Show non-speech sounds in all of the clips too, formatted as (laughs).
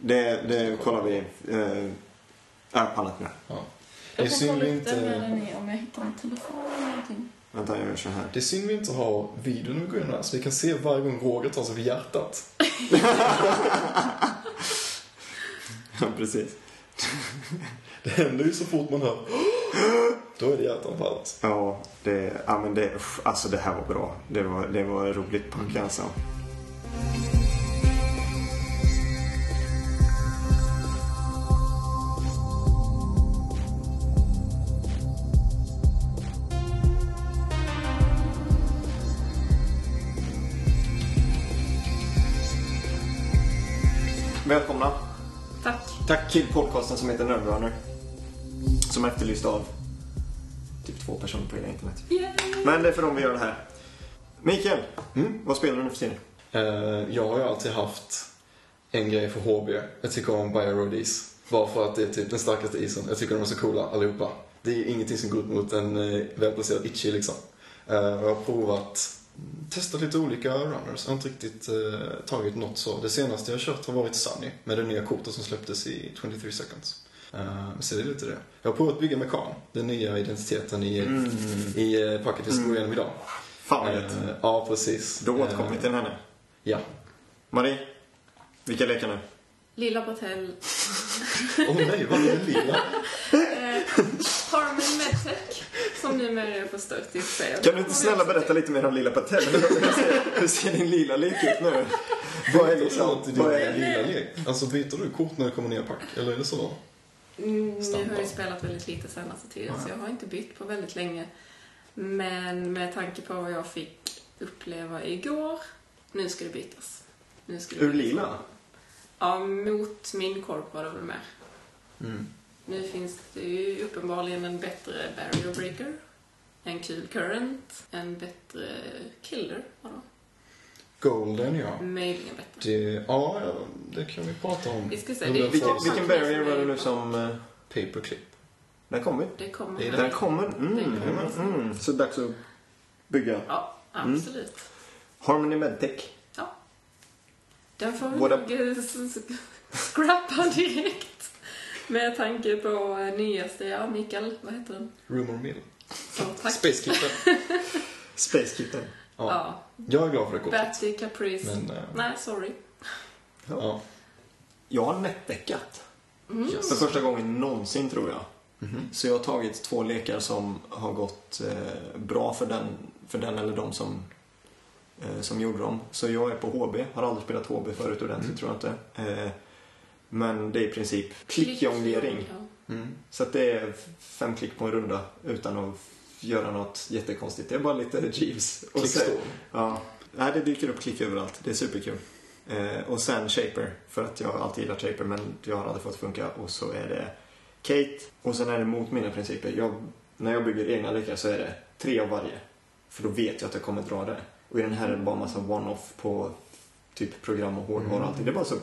Det, det kollar vi. Eh, är på annat nu. Ja. Det är Jag får synd kolla vi upp den inte... när den är, om jag hittar en telefon eller någonting. Vänta, jag gör så här. (laughs) Det är synd vi inte har videon när vi går igenom det här, så vi kan se varje gång Roger tar sig för hjärtat. Ja, precis. Det händer ju så fort man hör (gasps) Då är det hjärtanfall alltså. Ja, det, ja men det, usch, alltså det här var bra. Det var, det var roligt punk alltså. Välkomna. Tack. Tack till podcasten som heter Nerdrunner. Som är efterlyst av typ två personer på hela internet. Yay! Men det är för dem vi gör det här. Mikael, Mm. vad spelar du nu för tiden? Eh, Jag har ju alltid haft en grej för HB. Jag tycker om Bioroadies. Bara för att det är typ den starkaste isen. Jag tycker de är så coola allihopa. Det är ingenting som går ut mot en eh, välplacerad itchy liksom. Eh, och Jag har provat, mm, testat lite olika runners. Jag har inte riktigt eh, tagit något så. Det senaste jag har kört har varit Sunny med det nya kortet som släpptes i 23 seconds. Eh, Så det är lite det. Jag har provat att bygga Mekan, den nya identiteten i, Mm. i eh, packet vi ska gå igenom idag. Fan vad gött. Eh, Ja, precis. Då återkommer vi Eh, till henne. Ja. Marie, vilka lekar nu? Lilla Botell. Åh nej, vad är det lilla? Eh, Harmon Medtech, som numera är på typ, Sturtis själv. Kan du inte snälla berätta lite mer om Lilla Patel? Hur ser, hur ser din lilla lek ut nu? Vad är liksom... Byter du Vad din är, lilla lek? Alltså byter du kort när det kommer nya pack? Eller är det så? Mm, Nu har jag Standard. ju spelat väldigt lite senaste tiden så jag har inte bytt på väldigt länge. Men med tanke på vad jag fick uppleva igår, nu ska det bytas. Nu ska det ur bytas. lila? Ja, mot min korp var det väl mer. Mm. Nu finns det ju uppenbarligen en bättre barrier breaker, en kul current, en bättre killer. vadå? Golden, ja. Möjligen bättre. Det, ja, ja, det kan vi prata om. Vi ska se. Men Det är då- Vilken, två vilken saker barrier som är- var det nu som... eh, Paperclip. Den kommer. Det kommer. Det är Den kommer. Mm, mm, mm. Så dags att bygga. Ja, absolut. Harmony Medtech. Ja. Den får vi Våra- nog eh, s- s- scrappa (laughs) direkt. Med tanke på eh, nyaste, ja, Mikael, vad heter den? Rumor Mill. Så, tack. Space Clipper. Space Kitten. Ja. Ja. Jag är glad för det kortet. Batty Caprice. Men, eh, Nej, sorry. ja. Jag har nätdäckat. Mm. För första gången någonsin tror jag. Mhm. Så jag har tagit två lekar som har gått eh, bra för den, för den eller de som, eh, som gjorde dem. Så jag är på HB, har aldrig spelat HB förut ordentligt tror jag inte. Eh, men det är i princip klickjonglering. Ja. Mm. Så att det är fem klick på en runda utan att göra något jättekonstigt. Det är bara lite (laughs) jeeves. Och sen- Klickstål. Ja. Nej, det dyker upp klick överallt. Det är superkul. Eh, och sen Shaper, för att jag alltid gillat Shaper men jag har aldrig fått funka. Och så är det Kate och sen är det mot mina principer. Jag, när jag bygger egna lekar så är det tre av varje. För då vet jag att jag kommer dra det. Och i den här är det bara massa one-off på typ program och hårdvara och allting. Det är bara så...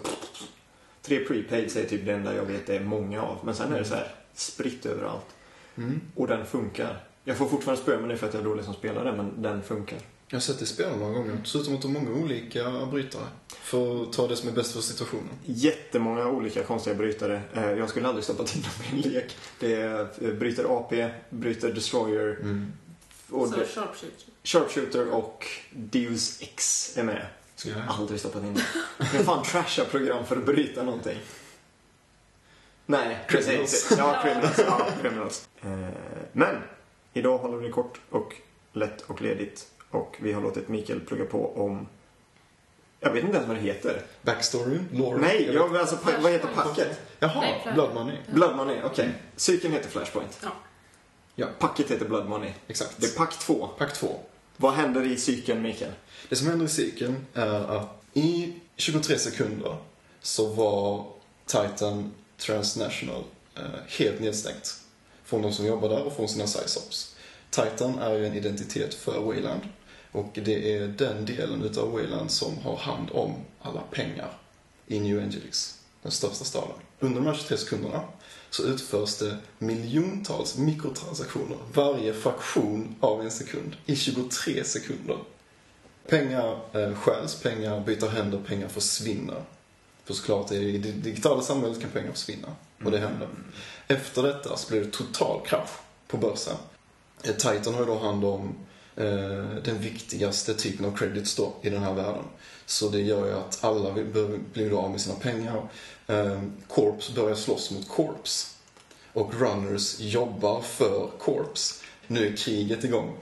Tre prepaid är typ det enda jag vet det är många av. Men sen är det så här spritt överallt. Mm. Och den funkar. Jag får fortfarande spö med det för att jag är dålig som spelare, men den funkar. Jag har sett det spela några gånger. Dessutom att de har många olika brytare. För att ta det som är bäst för situationen. jättemånga olika konstiga brytare. Eh, Jag skulle aldrig stoppa till dem i en lek. Det är, eh, bryter AP, bryter Destroyer, Mm. och Så det- sharpshooter. Sharpshooter och Deus X är med. Ska jag? Aldrig stoppat in det. Jag fan trashar program för att bryta någonting. Nej, precis. Ja, criminals. Ja, criminals. Eh, Men, idag håller vi det kort och lätt och ledigt. Och vi har låtit Mikael plugga på om... Jag vet inte ens vad det heter. Backstory? Lore? Nej, vet- jag, alltså, pa- vad heter packet? Jaha, Nej, Flashpoint. Blood Money. Blood Money, okej. Cykeln heter Flashpoint. Ja. Ja, Packet heter Blood Money. exakt. Det är pack 2. Pack 2. Vad händer i cykeln, Mikael? Det som händer i cykeln är att i 23 sekunder så var Titan Transnational eh, helt nedstängt. Från de som jobbar där och från sina size-ups. Titan är ju en identitet för Wayland. Och det är den delen utav Wayland som har hand om alla pengar i New Angeles, den största staden. Under de här 23 sekunderna så utförs det miljontals mikrotransaktioner varje fraktion av en sekund i 23 sekunder. Pengar eh, stjäls, pengar byter händer, pengar försvinner. För såklart, i det digitala samhället kan pengar försvinna. Och det händer. Efter detta så blir det total krasch på börsen. Eh, Titan har ju då hand om eh, den viktigaste typen av credits då i den här världen. Så det gör ju att alla vill- behöver- blir då av med sina pengar. Eh, Corps börjar slåss mot Corps. Och runners jobbar för Corps. Nu är kriget igång.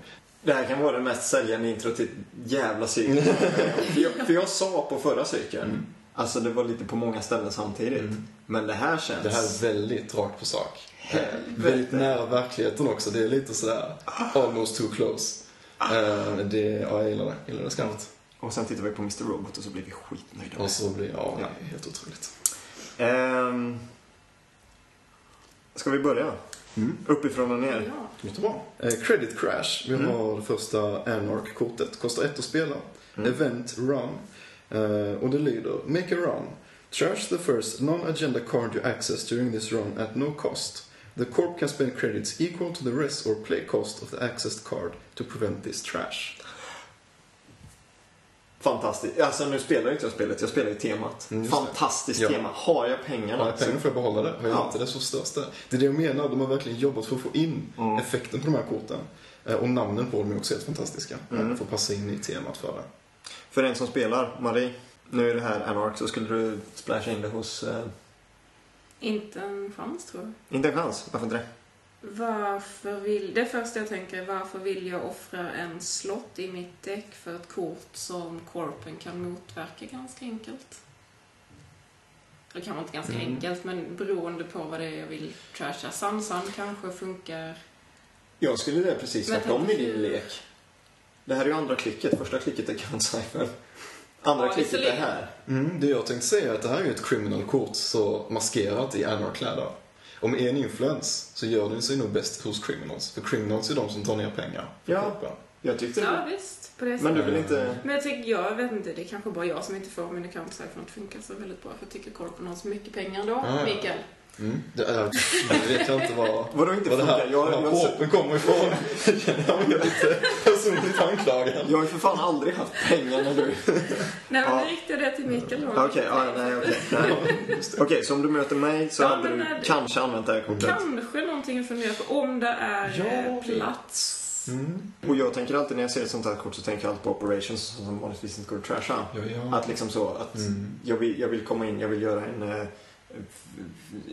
Det här kan vara det mest säljande intro till jävla cykeln. (laughs) för, jag, för jag sa på förra cykeln, alltså det var lite på många ställen samtidigt. Men det här känns... Det här är väldigt rakt (laughs) på sak. Helvete. Väldigt nära verkligheten också. Det är lite sådär almost too close. Eh, det, ja, jag gillar det. Jag gillar det skarpt. Och sen tittar vi på Mr Robot och så blir vi skitnöjda. Och så blir ja, det Ja. är helt otroligt. Ehm, ska vi börja? Mm. Uppifrån och ner. Ja. Det låter bra. Eh, Credit Crash. Vi Mm. har det första Anarch-kortet. Kostar ett att spela. Mm. Event Run. Eh, och det lyder Make a run. Trash the first non-agenda card you access during this run at no cost. The corp can spend credits equal to the rest or play cost of the accessed card to prevent this trash. Fantastiskt. Alltså nu spelar jag inte jag spelet, jag spelar ju temat. Mm, just det. Fantastiskt Ja. tema. Har jag pengarna? Har jag pengar får jag behålla det. Har jag Ja. inte det så störs det. Det är det jag menar. De har verkligen jobbat för att få in Mm. effekten på de här korten. Eh, Och namnen på dem är också helt fantastiska. Eh, Mm. För att passa in i temat för det. För en som spelar, Marie. Nu är det här Anark, så skulle du splasha in det hos... Eh, Inte en chans tror jag. inte en chans. Varför inte det? Varför vill... Det första jag tänker är varför vill jag offra en slott i mitt däck för ett kort som korpen kan motverka ganska enkelt? Det kan vara inte ganska Mm. enkelt, men beroende på vad det är jag vill trasha. Sansan kanske funkar. Jag skulle det precis Men tvärtom i tänk- din lek. Det här är ju andra klicket. Första klicket är Count Andra Ja, klicket är visserligen. här. Mm, det jag tänkte säga är att det här är ju ett criminal-kort så maskerat i anarkläder. Om är en influens så gör den sig nog bäst hos criminals. För criminals är de som tar ner pengar. för Ja. korpen. Jag tyckte Ja, det. visst. På det Men sättet. du vill inte... Men jag tycker, jag vet inte, det är kanske bara jag som inte får min account från att funka så väldigt bra. För jag tycker korpen har så mycket pengar då, Ah, ja. Mikael. Mm, det, är, det vet jag inte vad... Vadå inte Vad funkar? det här, Jag, jag, jag, jag, korpen kommer ifrån. (laughs) Jag känner jag mig lite personligt anklagad. jag har ju för fan aldrig haft pengar när du... Nej, men Ja. nu riktade jag det till Mikael då. (laughs) Okej, ja, nej, okej. nej. Just det. Okej, så om du möter mig så Ja, hade men du när- kanske använt det här kortet. Kanske någonting att fundera på om det är Ja, eh, det- plats. Mm. Och jag tänker alltid när jag ser ett sånt här kort så tänker jag alltid på operations som vanligtvis inte går att trasha. Ja, ja. Att liksom så, att Mm. jag, vill, jag vill komma in, jag vill göra en... eh,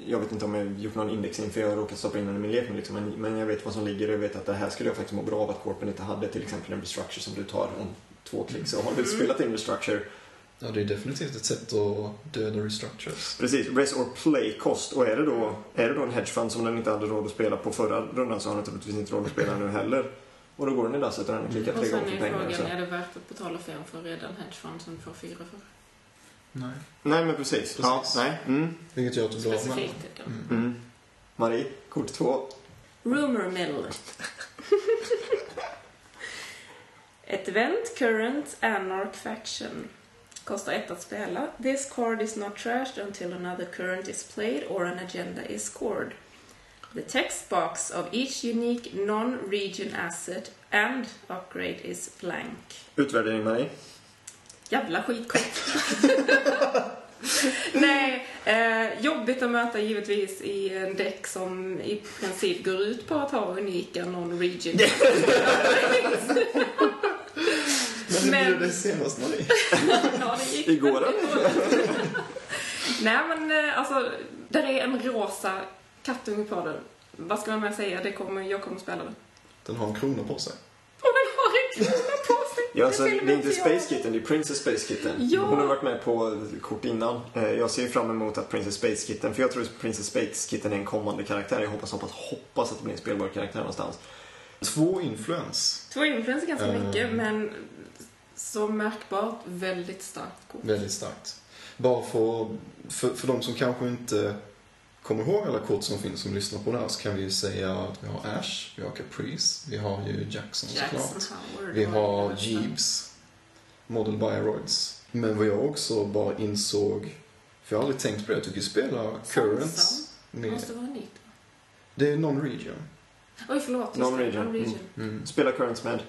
Jag vet inte om jag har gjort någon indexing för jag har råkat stoppa in den i min lek nu liksom, men, men jag vet vad som ligger och jag vet att det här skulle jag faktiskt må bra av att korpen inte hade. Till exempel en restructure som du tar om två klick så har du Mm. spelat in restructure. Ja, det är definitivt ett sätt att döda restructures. Precis, res or play cost. Och är det, då, är det då en hedgefund som den inte hade råd att spela på förra rundan så har den naturligtvis inte råd att spela nu heller. Och då går den i dasset och den har klickat Mm. Och tre sen gånger för är pengarna. frågan, Så. är det värt att betala fem för redan hedgefund som får fyra för? Nej. Nej men precis. Ja, Precis. nej. Mm. Vilket gör att du blir av med Specifikt. den. ja. Mm. Mm. Marie, kort två. Rumor mill. (laughs) Ett event, current, anarch faction. Kostar ett att spela. This card is not trashed until another current is played or an agenda is scored. The text box of each unique non-region asset and upgrade is blank. Utvärdering Marie. Jävla skitkort. Nej, eh, jobbigt att möta givetvis i en däck som i princip går ut på att ha unika non-region. Men det Men- blev det senast, Marie. ja, det gick Igår då? (laughs) Nej men eh, alltså, där är en rosa kattunge på den. Vad ska man med säga? Det kommer, jag kommer spela den. Den har en krona på sig. Och den har en krona på sig! Ja, alltså, Det filmar det är inte jag. Space Kitten, det är Princess Space Kitten. Ja. Hon har varit med på kort innan. Eh, Jag ser fram emot att Princess Space Kitten, för jag tror att Princess Space Kitten är en kommande karaktär. Jag hoppas, hoppas, hoppas att det blir en spelbar karaktär någonstans. Två influens. Två influenser ganska Eh. mycket men så märkbart väldigt starkt kort. Väldigt starkt. Bara för, för, för de som kanske inte kommer ihåg alla kort som finns som lyssnar på det här så kan vi ju säga att vi har Ash, vi har Caprice, vi har ju Jackson såklart. Jackson Howard. Vi var den har första. Jeeves, Model Bioroids. Men vad jag också bara insåg, för jag har aldrig tänkt på det, jag tycker spela Currents. Sansa. Med, Måste vara nytt. det är non-region. Oj, förlåt. Non-region. Non-region. Mm. Spela Currents med.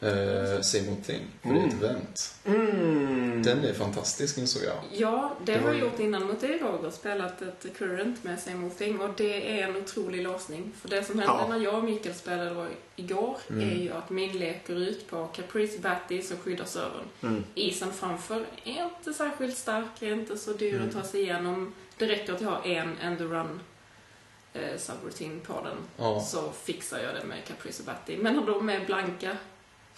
eh, Same Old Thing. För det är ett Mm. event. Mm. Den är fantastisk insåg jag. Ja, det Det har var jag ju- gjort innan mot dig Roger, spelat ett Current med Same Old Thing och det är en otrolig låsning. För det som hände Ja. när jag och Mikael spelade var igår Mm. är ju att min lek går ut på Caprice Batty som skyddar servern. Mm. Isen framför är inte särskilt stark, är inte så dyr Mm. att ta sig igenom. Det räcker att jag har en end the run eh, subroutine på den Ja. så fixar jag det med Caprice och Batty. Men om de är blanka,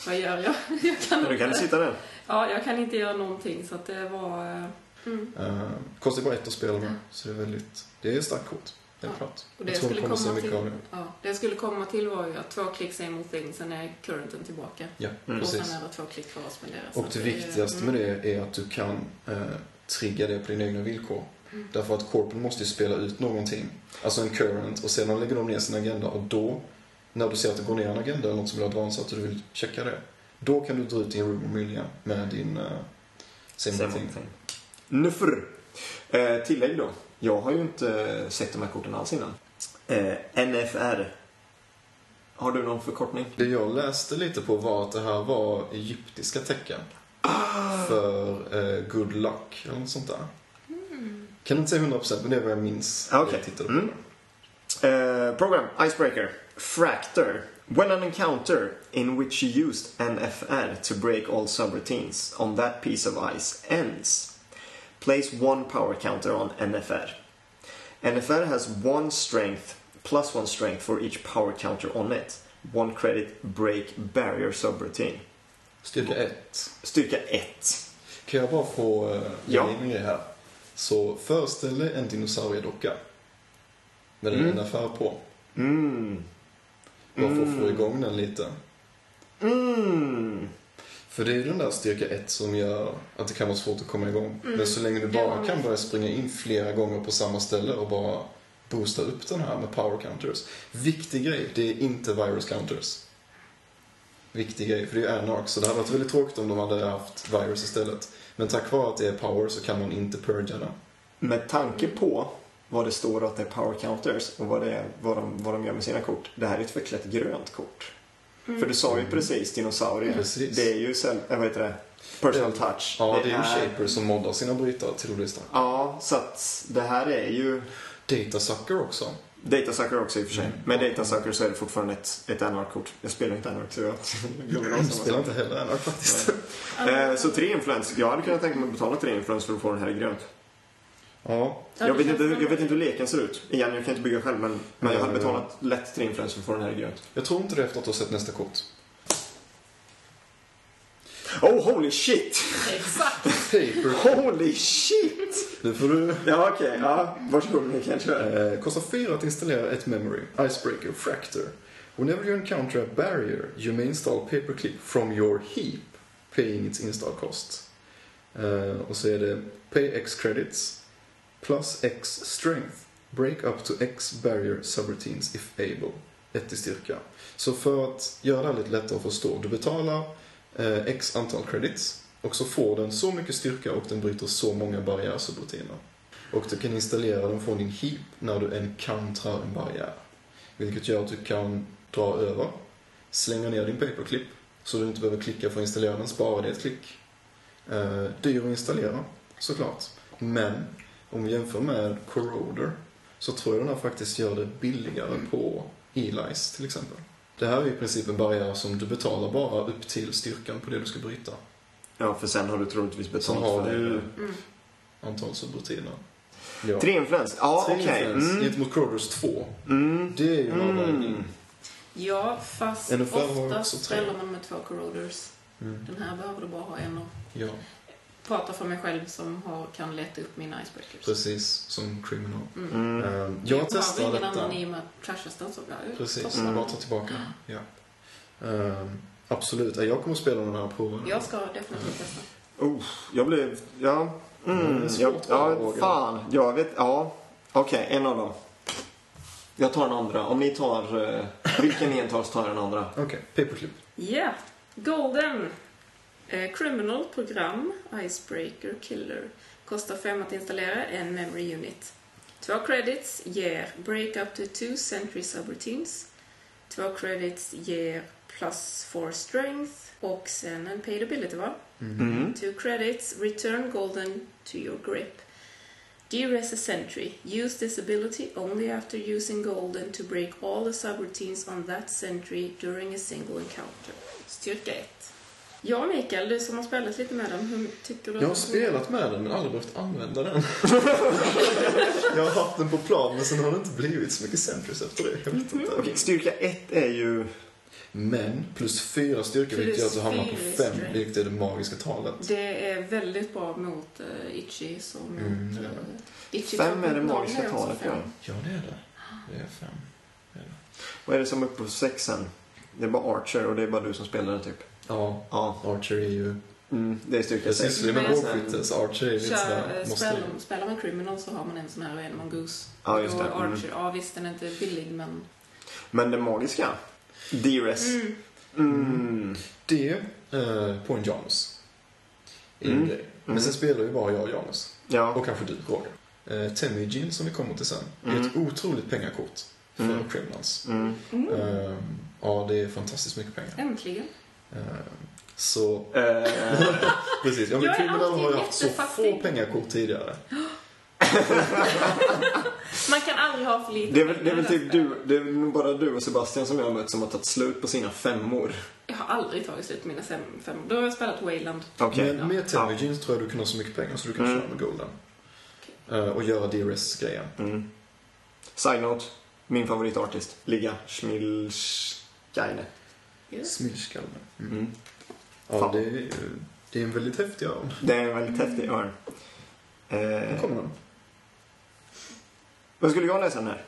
vad gör jag? (laughs) jag kan Men du kan inte- sitta där. Ja, jag kan inte göra någonting så att det var... eh, Mm. Eh, kostar bara ett att spela med. Så det är väldigt... Det är starkt kort. Helt Ja. klart. Och det jag tror vi skulle kommer att se komma mycket till- alltså av det. Ja, det jag skulle komma till var ju att två klick same old thing, sen är currenten tillbaka. Ja, Mm. Och precis. sen är det två klick kvar att spendera. Så Och att mm. det viktigaste med det är att du kan eh, trigga det på dina egna villkor. Mm. Därför att corpen måste ju spela ut någonting. Alltså en current och sedan lägger de ner sin agenda och då, när du ser att det går ner en agenda eller något som blir advansat och du vill checka det. Då kan du dra ut din rumor miljö med din eh, same Same old thing. old thing. Nuffer. Eh, tillägg då. Jag har ju inte eh, sett de här korten alls innan. Eh, NFR. Har du någon förkortning? Det jag läste lite på var att det här var egyptiska tecken. Ah! För eh, good luck eller något sånt där. Kan inte säga 100% men det är vad jag minns. Hmm. Ah, när okej. Jag tittade på Mm. det. Uh, program Icebreaker Fractor. When an encounter in which you used NFR to break all subroutines on that piece of ice ends, place one power counter on NFR. NFR has one strength plus one strength for each power counter on it. One credit break barrier subroutine. Styrka 1. Styrka 1. Kan jag bara få uh, Ja. ja. in en grej här? Så föreställ dig en dinosauriedocka. Med en Mm. affär på. Mm. Bara för att Mm. få igång den lite. Mm. För det är ju den där styrka 1 som gör att det kan vara svårt att komma igång. Mm. Men så länge du Det bara var- kan börja springa in flera gånger på samma ställe och bara boosta upp den här med power counters. Viktig grej, det är inte virus counters. Viktig grej, för det är ju Anarch, så det hade varit väldigt tråkigt om de hade haft virus istället. Men tack vare att det är power så kan man inte purga den. Med tanke på vad det står att det är power counters och vad, det är, vad, de, vad de gör med sina kort. Det här är ett förklätt grönt kort. Mm. För du sa ju precis dinosaurie. Precis. Det är ju cell, jag vet det, personal Det- touch. Ja, det är ju Shaper som moddar sina brytare till olistan. Ja, så att det här är ju Datasucker också. datasucker också i och för sig. Mm. Med datasucker så är det fortfarande ett, ett NR-kort. Jag spelar inte NR så jag (laughs) glömmer av De spelar samma inte heller Anarch faktiskt. (laughs) sak. Eh, Så tre influens. Jag hade kunnat tänka mig att betala tre influens för att få den här i grönt. Ja, Ja, jag, det vet känns inte, som- jag vet inte hur leken ser ut. Igen, jag kan inte bygga själv men, men jag hade Mm. betalat lätt tre influens för att få den här i grönt. jag tror inte det efter att du har sett nästa kort. Oh holy shit! Exakt! Paper. Holy shit! Nu får du... Ja okej, ja. Varsågod Mikael, kör. Eh, kostar 4 att installera ett memory, icebreaker, fractor. Whenever you encounter a barrier you may install paperclip from your heap, paying its install cost. Eh, och så är det pay x credits plus x strength, break up to x barrier subroutines if able. Ett i styrka. Så för att göra det här lite lättare att förstå, du betalar eh, x antal credits och så får den så mycket styrka och den bryter så många barriär subrutiner. Och du kan installera den från din heap när du encountrar en barriär. Vilket gör att du kan dra över, slänga ner din paperclip så du inte behöver klicka för att installera den, spara det ett klick. Eh, dyr att installera, såklart. Men om vi jämför med Corroder så tror jag den här faktiskt gör det billigare på Eli's till exempel. Det här är i princip en barriär som du betalar bara upp till styrkan på det du ska bryta. Ja, för sen har du troligtvis Sen betalt har för du det. (laughs) Mm. antal subrutiner. Ja. Tre influens? Ja, Tre okej. influens Mm. gentemot Corroders 2. Mm. Det är ju en Mm. avvägning. Ja, fast NFL har också oftast tre. spelar man med två corroders. Den här behöver du bara ha en och Ja, prata för mig själv som har, kan leta upp mina icebreakers. precis. Som criminal. Mm. Mm. Ehm, Jag testar Jag har ingen detta. annan i Mm. och med att trashas den så bra. Jag Precis, testar jag Mm. bara den. tar tillbaka. Ja. Ehm, Absolut. Ja, Jag kommer att spela de här proven. Jag ska definitivt testa. Oh, jag blev... Ja. Mm, det Mm. är svårt Jag, att ja, våga. fan. Jag vet... Ja. Okej, en av dem. Jag tar den andra. Om ni tar... eh, vilken ni än tar så tar jag den andra. Okej, paperclip. Mm. Ja, Golden. Eh, criminal program, Icebreaker Killer. Kostar 5 att installera, en memory unit. Två credits ger break up to two sentry subroutines. Två credits ger plus 4 strength och sen en paid ability va? Mm. Two credits, return golden to your grip. DRS a sentry. Use this ability only after using golden to break all the subroutines on that sentry during a single encounter. Styrka 1. Ja, Mikael, du som har spelat lite med dem, hur tycker du? Jag har att- spelat med den men aldrig behövt (laughs) använda den. jag har haft den på plan men sen har det inte blivit så mycket centris efter det. Jag vet inte. Okej, styrka 1 är ju... Men plus fyra styrka vilket Plus gör att du hamnar på fyra fem styrka. vilket är det magiska talet. Det är väldigt bra mot eh, Itchy som mot... Mm, det är det. eh, Itchy Fem är det 5.0 magiska också talet, fem. ja. Ja det är det. Det är fem. Det är det. Vad är det som är uppe på sexan? Det är bara Archer och det är bara du som spelar den, typ. Ja, Ja, Archer är ju... mm, det är styrka Jag 6. sysslar ju med Men bågskytte så Archer är ju lite Kör, sådär... eh, Måste spelar, spelar man criminal så har man en sån här och en man goose. Ja, just det. Och Mm. Archer, ja visst den är inte billig men... Men det magiska? DRS. Mm. Mm. det eh, på en Janus. Är Mm. ju det. Men sen spelar ju bara jag och Janus. Ja. Och kanske du, Roger. Eh, Temujin som vi kommer till sen. Mm. är ett otroligt pengakort för Mm. Criminals. Mm. Mm. Eh, ja, det är fantastiskt mycket pengar. Äntligen. Eh, så Eh, precis, ja, men Jag är Criminal har ju alltid haft så jättefattig. få pengakort tidigare. Man kan aldrig ha för lite det, är väl, det är pengar väl i det här typ du, det är väl nog bara du och Sebastian som jag har mött som har tagit slut på sina femmor. spelet. Jag har aldrig tagit slut på mina fem, fem. Då har jag spelat Wayland. Okej. Men med Temujin så tror jag du kan ha så mycket pengar så du kan Mm. köra med Golden. Eh, och göra DRS-grejen. Mm. Side note. Min favoritartist. Liga Schmilskaine. Yes. Smyrskalmen. Mm. Mm. Ja, Fan. det är, ju- det är en väldigt häftig örn. Det är en väldigt häftig örn. Nu Eh, kommer den. vad skulle jag läsa den här?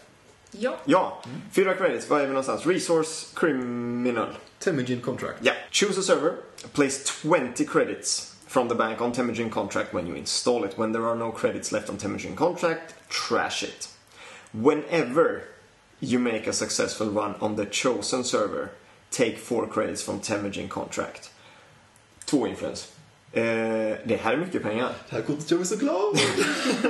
Ja. Ja, Mm. fyra credits. Var är vi någonstans? Resource Criminal. Temujin Contract. Yeah. Choose a server. Place 20 credits from the bank on Temujin contract when you install it. When there are no credits left on Temujin contract, trash it. Whenever you make a successful run on the chosen server, take 4 credits from Temujin contract. Två influence. Eh, det här är mycket (laughs) pengar. Det här kortet gör mig så glad!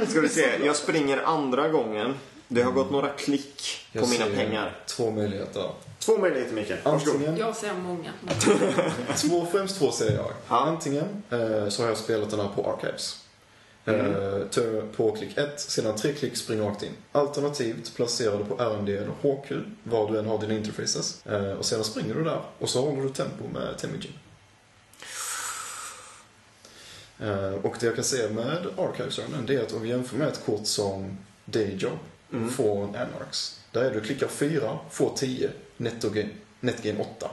Ska vi se, jag springer andra gången. Det har gått några klick på Jag mina ser pengar. Två möjligheter. Två möjligheter Mikael. Varsågod. Antingen Jag ser många. Två, främst två säger jag. Ja. Antingen eh, så har jag spelat den här på Archives. Eh, tö- på klick 1, sedan tre klick spring rakt in. Alternativt placera du på RMD eller HQ, var du än har dina interfaces. Eh, och sedan springer du där och så håller du tempo med Temujin. Eh, och det jag kan säga med archives Örnen, det är att om vi jämför med ett kort som Dayjob Mm. från Anarchs. Där är du klickar 4, får 10, nettogain, netgain 8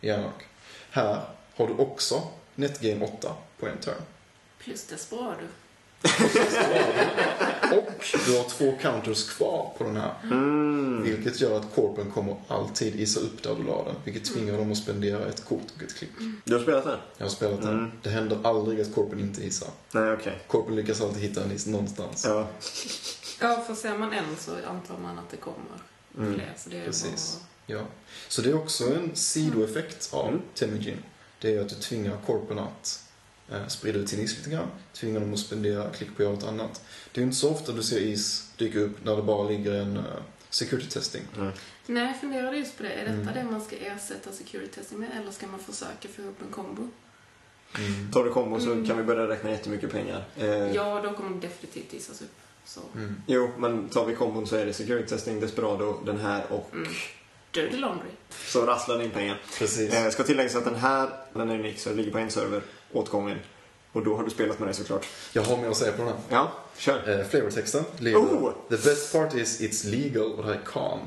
i Anarch. Här har du också netgain 8 på en turn. Plus Desperado. Och du har två counters kvar på den här. Mm. Vilket gör att korpen kommer alltid isa upp där du la den. Vilket tvingar dem att spendera ett kort och ett klick. Du har spelat den? Jag har spelat den. Mm. Det händer aldrig att korpen inte isar. Nej, okej. Korpen lyckas alltid hitta en is någonstans. Ja. Ja, för ser man en så antar man att det kommer Mm. fler. Så det är Precis. bara- Ja. Så det är också en sidoeffekt av Mm. Temujin. Det är att du tvingar korpen att eh, sprida ut sin is lite grann. Tvingar dem att spendera klick på att göra något annat. Det är ju inte så ofta du ser is dyka upp när det bara ligger en eh, security testing. Mm. Nej, jag funderade just på det. Är detta Mm. det man ska ersätta security testing med eller ska man försöka få ihop en kombo? Mm. Tar du kombo så Mm. kan vi börja räkna jättemycket pengar. Eh, Ja, då kommer det definitivt isas upp. Så. Mm. Jo, men tar vi kombon så är det security testing, desperado, den här och Mm. Dirty laundry. så rasslar det in pengar. Precis. Eh, ska tilläggas att den här, den är unik så den ligger på en server åt gången. Och då har du spelat med det såklart. Jag har mer att säga på den här. Ja, kör. Eh, flavortexten lyder Oh! The best part is it's legal och det här är Khan.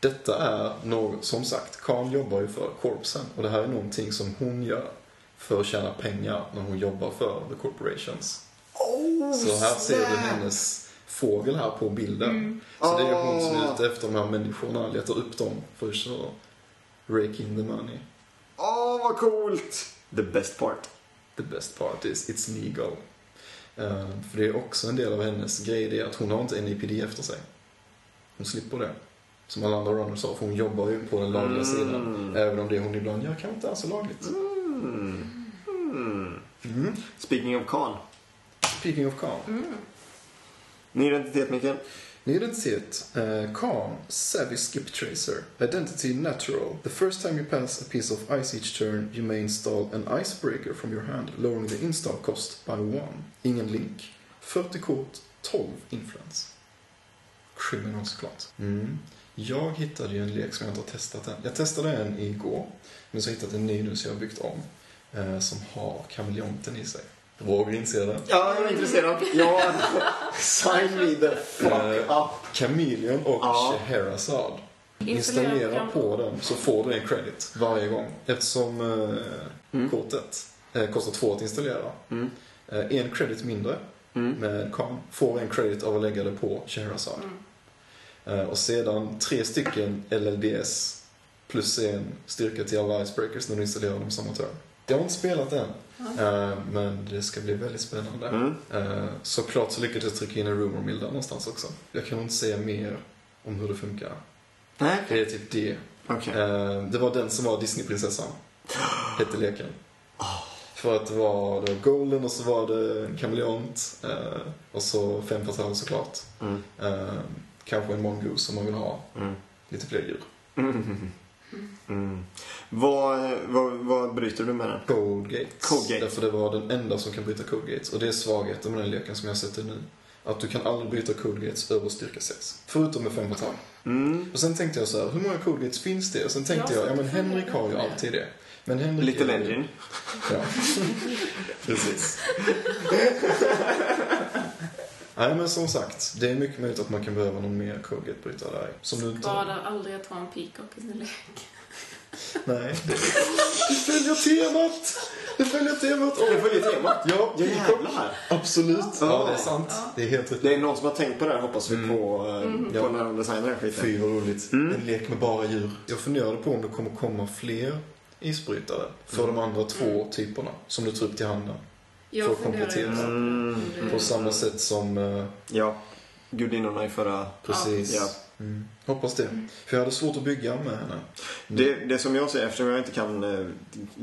Detta är något, som sagt, Khan jobbar ju för korpsen och det här är någonting som hon gör för att tjäna pengar när hon jobbar för the corporations. Oh, Så här ser vi hennes fågel här på bilden. Så det är hon som är ute efter de här människorna, letar upp dem först och rake in the money. Åh, vad coolt! The best part. The best part is it's legal. Eh, för det är också en del av hennes grej, det är att hon har inte NIPD efter sig. Hon slipper det. Som alla andra runners har, för hon jobbar ju på den lagliga Mm. sidan. Även om det hon ibland gör kanske inte är så lagligt. Mm. Mm. Speaking of Khan. Speaking of Khan. Mm. Ny identitet, Mikael. Ny identitet. Uh, Calm. Savvy Skip Tracer. Identity Natural. The first time you pass a piece of ice each turn you may install an icebreaker from your hand lowering the install cost by one. Ingen link. 40 kort, 12 influens. Criminal såklart. Mm. Jag hittade ju en lek som jag inte har testat än. Jag testade en igår, men så har jag hittat en ny nu som jag har byggt om. eh, Som har kameleonten i sig. Vågar ni inse det? Ja, jag är intresserad. Ja, (laughs) sign me the fuck Eh, up. Chameleon och Ja. Scheherazade. Installera Installera program- på den så får du en credit varje gång. Eftersom eh, Mm. kortet eh, kostar två att installera. Mm. Eh, en credit mindre Mm. med CAM får en credit av att lägga det på Scheherazade. Mm. Eh, och sedan tre stycken LLDS plus en styrka till alla icebreakers när du installerar dem samma turn. Jag har inte spelat än, Ja. eh, men det ska bli väldigt spännande. Mm. Eh, Såklart så lyckades jag trycka in en rumor mill där någonstans också. Jag kan nog inte säga mer om hur det funkar. Nej, Det är typ det. okej. Eh, Det var den som var Disneyprinsessan. Hette leken. För att det var, det var Golden och så var det en kameleont. eh, Och så fem kvartal såklart. Mm. Eh, Kanske en mongoose om man vill ha Mm. lite fler djur. Mm. Mm. Vad, vad, vad bryter du med den? Code Gates. Code Gates. Därför det var den enda som kan bryta Code Gates. Och det är svagheten med den leken som jag har sett nu. Att du kan aldrig bryta Code Gates över styrka 6. Förutom med fem kvartal. Mm. Och sen tänkte jag så här, hur många codegates finns det? Och sen tänkte Ja, jag, ja men så det Henrik har ju fungerar. alltid det. Men Henrik Little är ju- Engine. (laughs) Ja. Precis. Nej men som sagt, det är mycket möjligt att man kan behöva någon mer codegatebrytare där. Som du inte... Skadar aldrig att ha en peacock i sin lek. Nej. Det, det följer temat! Det följer temat! Det följer temat. Ja, Jävlar! absolut. Ja, det är sant. Ja. Det är helt rätt. Det är någon som har tänkt på det här hoppas vi på, eh, på Mm. Ja. när de designar den skiten. Fy vad roligt. Mm. En lek med bara djur. Jag funderade på om det kommer komma fler isbrytare för de andra Mm. två typerna som du tar upp till handen. För att komplettera. också på Mm. det. Om På det- samma sätt som... eh, Ja. Gudinnorna i förra... Precis. Ja. Mm. Hoppas det. För jag hade svårt att bygga med henne. Det, det som jag säger, eftersom jag inte kan, eh,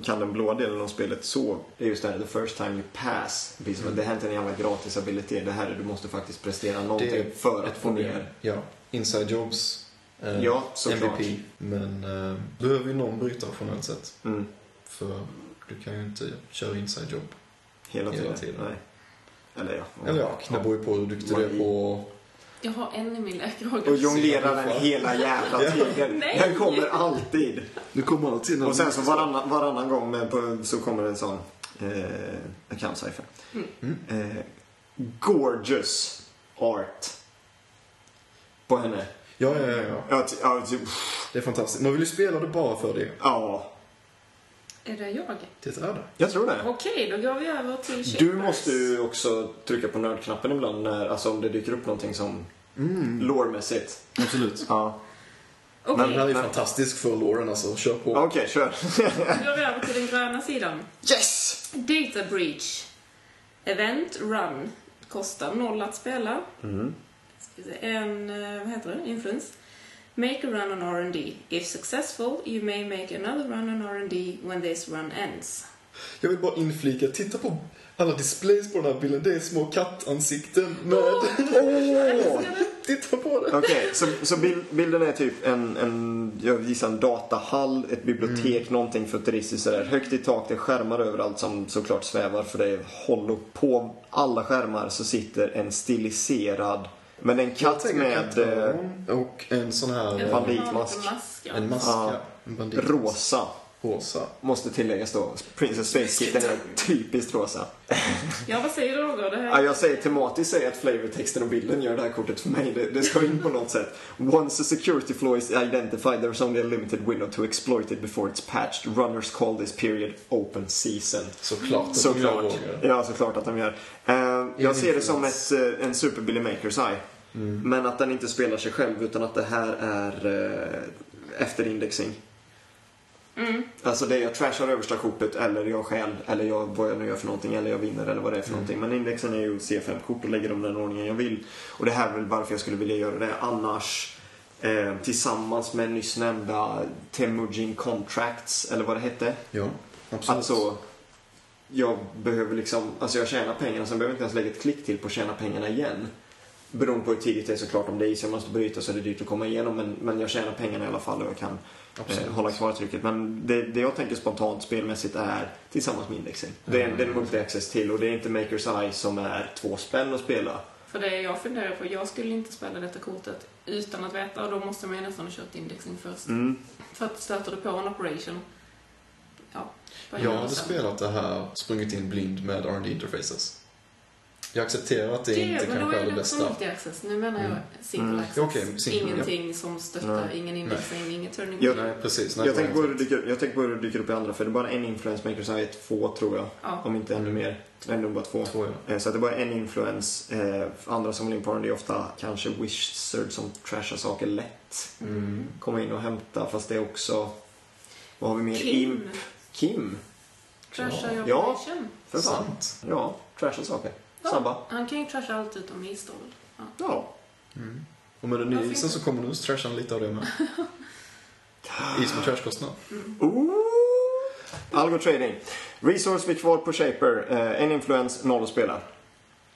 kan den blåa delen av spelet så, är just det här the first time you pass. Det är som att Det här är inte en jävla gratis abilitet. Det här är du måste faktiskt prestera någonting för att få ner. Ja. Inside Jobs. eh, Ja, såklart. MVP. Men eh, behöver ju någon brytare generellt sett. Mm. För du kan ju inte köra Inside Job. Hela tiden. Hela tiden. Nej. Eller ja. Eller ja, det beror ju på hur duktig du är på... Jag har en i min lek, Roger. Och jonglera den hela jävla tiden. Nej. Den kommer alltid. Du kommer alltid Och sen så varannan, varannan gång med på, så kommer en sån eh, account-cypher. Eh, gorgeous art. På henne. Ja, ja, ja, ja. Ja, ty- ja, ty- pff, Det är fantastiskt. Man vill ju spela det bara för det. ja, Är det jag? Det är det. jag tror det. Okej, då går vi över till Shapers. Du måste ju också trycka på nördknappen ibland när, alltså om det dyker upp någonting som lore-mässigt. Absolut. Ja. Okej, Den här är ju fantastisk för låren alltså. Kör på. Okej, kör. (laughs) då går vi över till den gröna sidan. Yes! Data Breach. Event Run. Kostar noll att spela. Ska vi se, En, eh, vad heter det? Influence. Make a run on R&D. If successful, you may make another run on R&D when this run ends. Jag vill bara inflika, titta på alla displays på den här bilden. Det är små kattansikten med... Åh! (laughs) titta på det! Okej, så, så bild, bilden är typ en, en, jag gissar en datahall, ett bibliotek, någonting futuristiskt sådär. Högt i tak, det är skärmar överallt som såklart svävar för det är hollow. På alla skärmar så sitter en stiliserad, men en katt med eh, Och en sån här... En eh, banditmask. liten mask, ja. En mask, Ja. ja. En bandit. rosa. Rosa. Måste tilläggas då. Princess Space Kitten är typiskt rosa. Ja, vad säger Roger? Det Ja, här jag säger tematiskt säger att flavortexten och bilden gör det här kortet för mig. Det, det ska in på något sätt. Once a security flaw is identified there is only a limited window to exploit it before it's patched. Runners call this period open season. Såklart att de gör Såklart. Roger. Ja, såklart att de gör. Eh, jag ser det Mm. som ett, eh, en Super Billy Makers Eye. Men att den inte spelar sig själv utan att det här är eh, efterindexing. Alltså det är jag trashar översta kortet eller jag stjäl eller jag, vad jag nu gör för någonting eller jag vinner eller vad det är för någonting. Men indexen är ju C5-kort och lägger dem i den ordningen jag vill. Och det här är väl varför jag skulle vilja göra det. Annars eh, tillsammans med nyss nämnda Temujin Contracts eller vad det hette. Ja, absolut. Alltså, jag behöver liksom, alltså jag tjänar pengarna, sen behöver jag inte ens lägga ett klick till på att tjäna pengarna igen. Beroende på hur tidigt det är såklart. Om det är is jag måste bryta så är det dyrt att komma igenom. Men, men jag tjänar pengarna i alla fall och jag kan eh, hålla kvar trycket. Men det, det jag tänker spontant spelmässigt är tillsammans med indexing. Det Mm. är, det är en multi-access till och det är inte Makers Eye som är två spänn att spela. För det jag funderar på, jag skulle inte spela detta kortet utan att veta och då måste man ju nästan ha kört indexing först. Mm. För att stöter du på en operation, ja. vad gör Jag du hade sen? spelat det här sprungit in blind med R&D interfaces. Jag accepterar att det, Det, inte men då kanske är är det det också bästa. multi-access. Nu menar jag Mm. single Mm. access. Okej, single, ja. Ingenting som stöttar, Nej. ingen indexing, ingen turning. Jag- Nej, precis. Nej, Jag det var tänker typ på hur inte. det dyker- jag tänker på hur det dyker upp i andra för det är bara en influence Makers Eye, två tror jag. ja. Om inte ännu Mm. mer. Nej, nog bara två. Tror jag. Eh, Så att det bara en influens. Eh, Andra som vill in på den, det är ofta kanske Wizard som trashar saker lätt. Mm. Komma in och hämta, fast det är också... Vad har vi mer? Imp. Kim, Kim. trashar Ja. jag Ja. operation? För fan. Sant. Ja, trashar saker. Ja. Snabba. Han kan ju trasha allt utom isdol. Ja. Mm. Och med den nya Varför isen inte? så kommer nu trashan lite av det med. Is med trashkostnad. Mm. Ooh. Algo trading. Resource vi kvar på Shaper. Eh, en influens, noll att spela.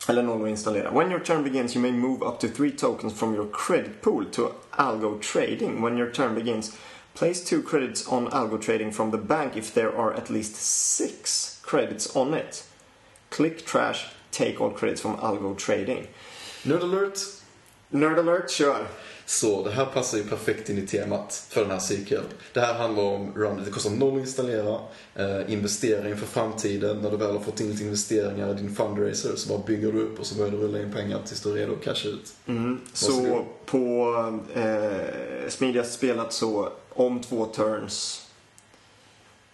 Eller noll att installera. When your turn begins you may move up to three tokens from your credit pool to Algo trading. When your turn begins place two credits on Algo trading from the bank if there are at least six credits on it. Click trash, take all credits from Algo trading. Nerd alert! Nerd alert, kör! Så det här passar ju perfekt in i temat för den här cykeln. Det här handlar om rounded. Det kostar noll att installera, eh, investering för framtiden. När du väl har fått in lite investeringar i din fundraiser så bara bygger du upp och så börjar du rulla in pengar tills du är redo att casha ut. Mm. Så Varsågod. på eh, smidigast spelat så om två turns.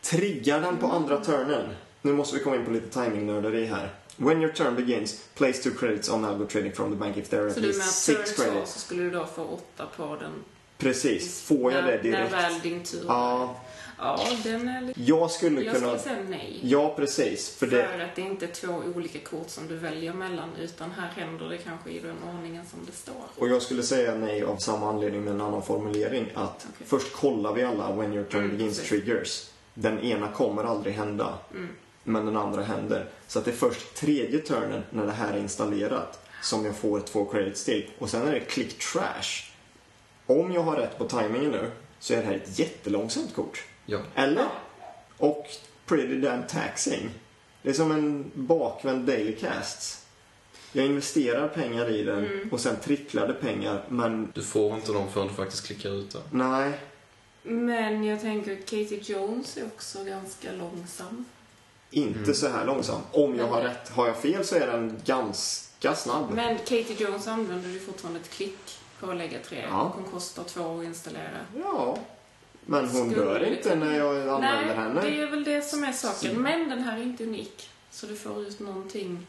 Triggar den på andra turnen. Nu måste vi komma in på lite timing-nörderi här. When your turn begins, place two credits on algo trading from the bank if there are at Så du menar least att turn six två credits. så skulle du då få åtta på den? Precis, får jag när, det direkt? När väl din tur Ja, ja, den är lite... jag skulle Jag kunna... skulle säga nej. Ja, precis. För För, det... att det är inte två olika kort som du väljer mellan utan här händer det kanske i den ordningen som det står. Och jag skulle säga nej av samma anledning med en annan formulering. Att Okej. först kollar vi alla when your turn Mm, begins precis. triggers. Den ena kommer aldrig hända. Mm. Men den andra händer. Så att det är först tredje turnen när det här är installerat som jag får två credits till. Och sen är det click trash. Om jag har rätt på timingen nu så är det här ett jättelångsamt kort. Ja. Eller? Och pretty damn taxing. Det är som en bakvänd daily casts. Jag investerar pengar i den Mm. och sen tricklar det pengar men Du får inte dem förrän du faktiskt klickar ut det. nej. Men jag tänker Katie Jones är också ganska långsam. Inte Mm. så här långsam. Om jag har rätt. Har jag fel så är den ganska snabb. Men Katie Jones använder ju fortfarande ett klick på att lägga tre. Ja. Och hon kostar två att installera. Ja. Men hon Skulle- dör inte när jag använder Nej, henne. det är väl det som är saken. Men den här är inte unik. Så du får ut någonting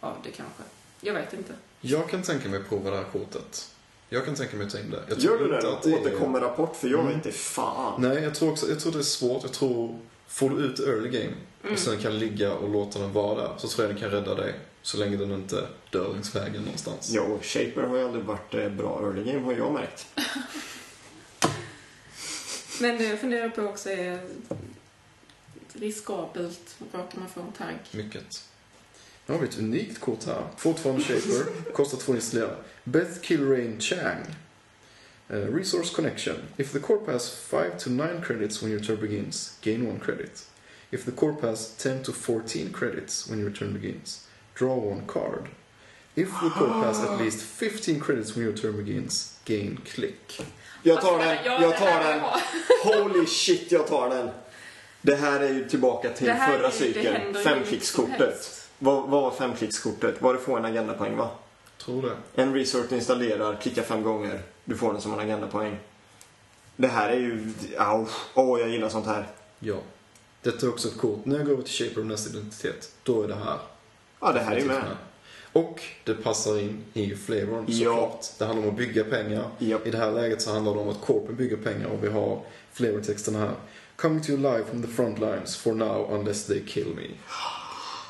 av det kanske. Jag vet inte. Jag kan tänka mig att prova det här kortet. Jag kan tänka mig att ta in det. Jag Gör tror du det inte då? att är- Återkommer rapport för jag Mm. vet inte fan. Nej, jag tror också, jag tror det är svårt. Jag tror, får du ut early game Mm. Mm. och sen kan ligga och låta den vara där så tror jag den kan rädda dig. Så länge den inte dör längs vägen någonstans. Ja, och Shaper har ju aldrig varit eh, bra early game har jag märkt. Men det jag funderar på också är riskabelt. Vad kan man få en tagg? Mycket. Nu har vi ett unikt kort här. Fortfarande Shaper, kostar två att installera. Beth Kilrain Chang. Eh, resource connection. If the corp has 5 to 9 credits when your turn begins, gain 1 credit. If the corp has 10 to 14 credits when your turn begins, draw 1 card. If the corp has at least 15 credits when your turn begins, gain click. Jag tar Alltså, den, ja, jag det tar här vill den. jag ha. Holy shit, jag tar den. Det här är ju tillbaka till Det här är ju- förra det händer cykeln. ju hur som Femklickskortet. helst. Vad, vad var femklickskortet? Var det få en agendapoäng va? Tror det. En resource du installerar, klicka fem gånger. Du får den som en agendapoäng. Det här är ju... Au. Åh, jag gillar sånt här. Ja. Detta är också ett kort. När jag går över till Shaper och nästa identitet, då är det här. Ja, det här är ju med. Och det passar in i flavorn Ja. såklart. Det handlar om att bygga pengar. Japp. I det här läget så handlar det om att korpen bygger pengar och vi har flavortexten här. Coming to you live from the front lines for now unless they kill me.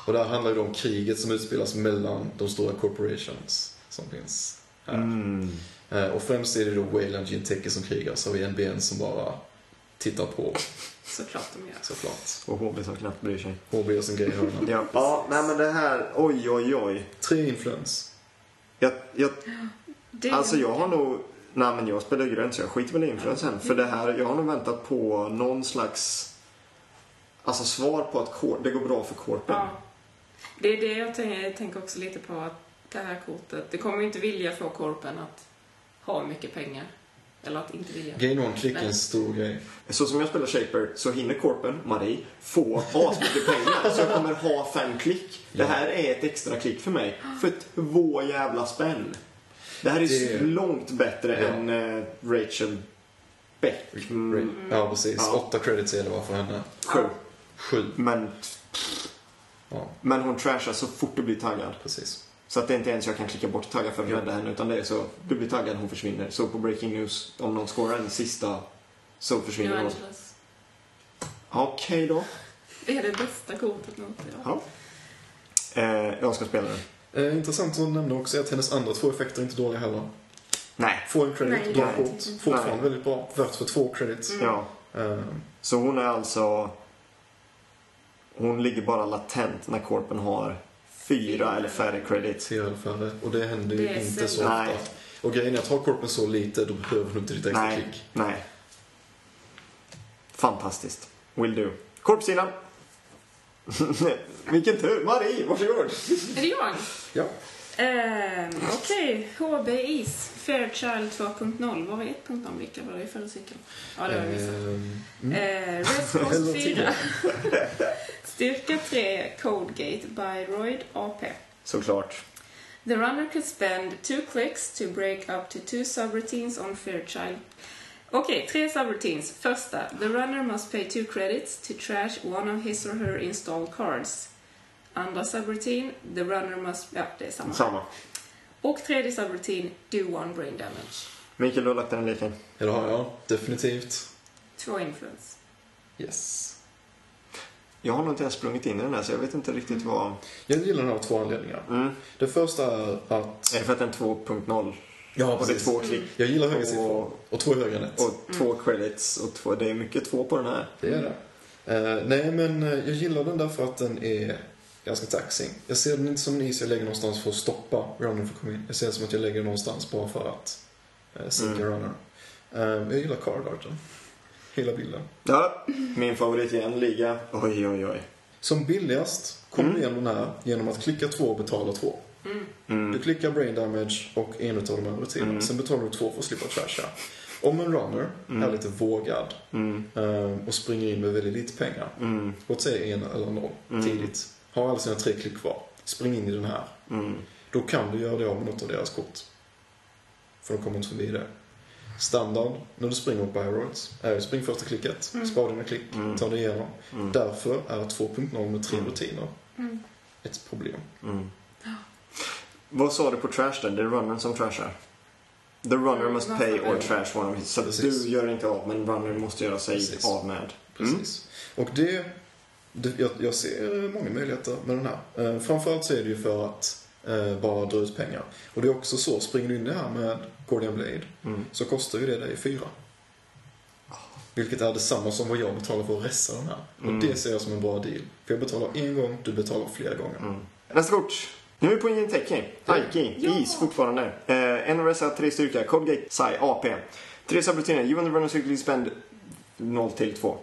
Och det här handlar ju om kriget som utspelas mellan de stora corporations som finns här. Mm. Eh, Och främst är det då Wayland Ginteke som krigar, så har vi NBN som bara tittar på Såklart de gör. såklart. Och HB som knappt bryr sig. HB gör sin grej i hörnan. Ja, ja nej men det här... Oj, oj, oj. Tre influens. Jag, jag, Det är alltså jag har nog... Nej men jag spelar grönt så jag skiter väl i influensen. För det här, jag har nog väntat på någon slags... Alltså svar på att kor, det går bra för korpen. Ja. Det är det jag tänker, jag tänker också lite på att det här kortet, det kommer ju inte vilja få korpen att ha mycket pengar. Eller att inte vilja. Gain one klick är en stor grej. Så som jag spelar Shaper så hinner korpen, Marie, få asmycket pengar. Så jag kommer ha fem klick. Det här är ett extra klick för mig. För två jävla spänn. Det här är Det- långt bättre Ja. än eh, Rachel Beck. Mm, Liksom Ja, precis. Ja. Åtta credits är det bara för henne. sju. Sju. Men, Ja, men hon trashar så fort du blir taggad. precis. Så att det är inte ens jag kan klicka bort taggar för att rädda henne. Utan det är så, du blir taggad, hon försvinner. Så på Breaking News, om någon scorar en sista så försvinner hon. Evangelos. Okej då. Det är det bästa kortet någonsin. Ja. Ja. Eh, jag ska spela den. Eh, intressant att nämna också är att hennes andra två effekter är inte dåliga heller. Nej. Få en credit, Nej, bra nej. kort. Fortfarande Nej. väldigt bra. Värt för två credits. Ja. Eh, Så hon är alltså... Hon ligger bara latent när korpen har fyra eller färre credits. tre eller färre. Och det händer ju Det är inte så sällan. ofta. Och grejen är att har korpen så lite, då behöver du inte ditt extra Nej. klick. Nej. Fantastiskt. Will do. Korpsidan! (laughs) Vilken tur! Marie, varsågod! Är det jag? Ja. Ehm, Okej, HB Is, Fairchild 2.0. Var var 1.0? Vilka var det i förra cykeln? Ja, det var vissa. Ehm, Eh, Response Eller 4. tidigare. (laughs) Styrka 3, Codegate, Byroid, AP. Såklart. The runner could spend two clicks to break up to two subroutines on Fairchild. Okej, tre subroutines. Första. The runner must pay two credits to trash one of his or her installed cards. Andra subroutine. The runner must... Ja, det är samma. Samma. Och tredje subroutine. Do one brain damage. Mikael, du har lagt den leken. Ja, det har jag. Definitivt. Två influence. Yes. Jag har nog inte ens sprungit in i den här så jag vet inte riktigt vad... Jag gillar den av två anledningar. Mm. Det första är att... Är det för att den är 2.0? Ja, Och det är två klick Jag gillar höga Och- siffror. Och två är högre än ett. och två credits och två... Det är mycket två på den här. Det är det. Eh, nej, men eh, jag gillar den därför att den är ganska taxing. Jag ser den inte som en is jag lägger någonstans för att stoppa runnern för att komma in. Jag ser den som att jag lägger den någonstans bara för att uh, sinka Mm. runnern. Eh, jag gillar card arten. Hela bilden. Ja, min favorit igen, liga. Oj, oj, oj. Som billigast kommer Mm. du igenom den här genom att klicka två och betala två. Du Mm. klickar brain damage och en utav de här rutinerna. Mm. Sen betalar du två för att slippa trasha. Om en runner är lite vågad Mm. eh, och springer in med väldigt lite pengar. Mm. Låt säga en eller noll Mm. tidigt. Har alla sina tre klick kvar. Spring in i den här. Mm. Då kan du göra det av med något av deras kort. För de kommer inte förbi det. Standard, när du springer mot Byroids, är spring första klicket, spara dina klick, Mm. ta dig igenom. Mm. Därför är 2.0 med tre Mm. rutiner Mm. ett problem. Mm. Vad sa du på trash där? Det är runnern som trashar. The runner Mm, must man pay får or välja. trash one of his. Så att Precis. du gör inte av, men runnern måste göra sig Precis. av med. Mm. Precis. Och det, det jag, jag ser eh, många möjligheter med den här. Eh, framförallt så är det ju för att eh, bara dra ut pengar. Och det är också så, springer du in i det här med Gordian Blade Mm. så kostar ju det dig fyra. Vilket är detsamma som vad jag betalar för att resa den här. Och Mm. det ser jag som en bra deal. För jag betalar en gång, du betalar flera gånger. Mm. Nästa kort. Nu är vi på Jinteki. Aiki. Ja. Is fortfarande. Eh, NRSA 3 styrka. Codegate. Psi. AP. Tre subrutiner. You and the runner circle spend 0 till 2.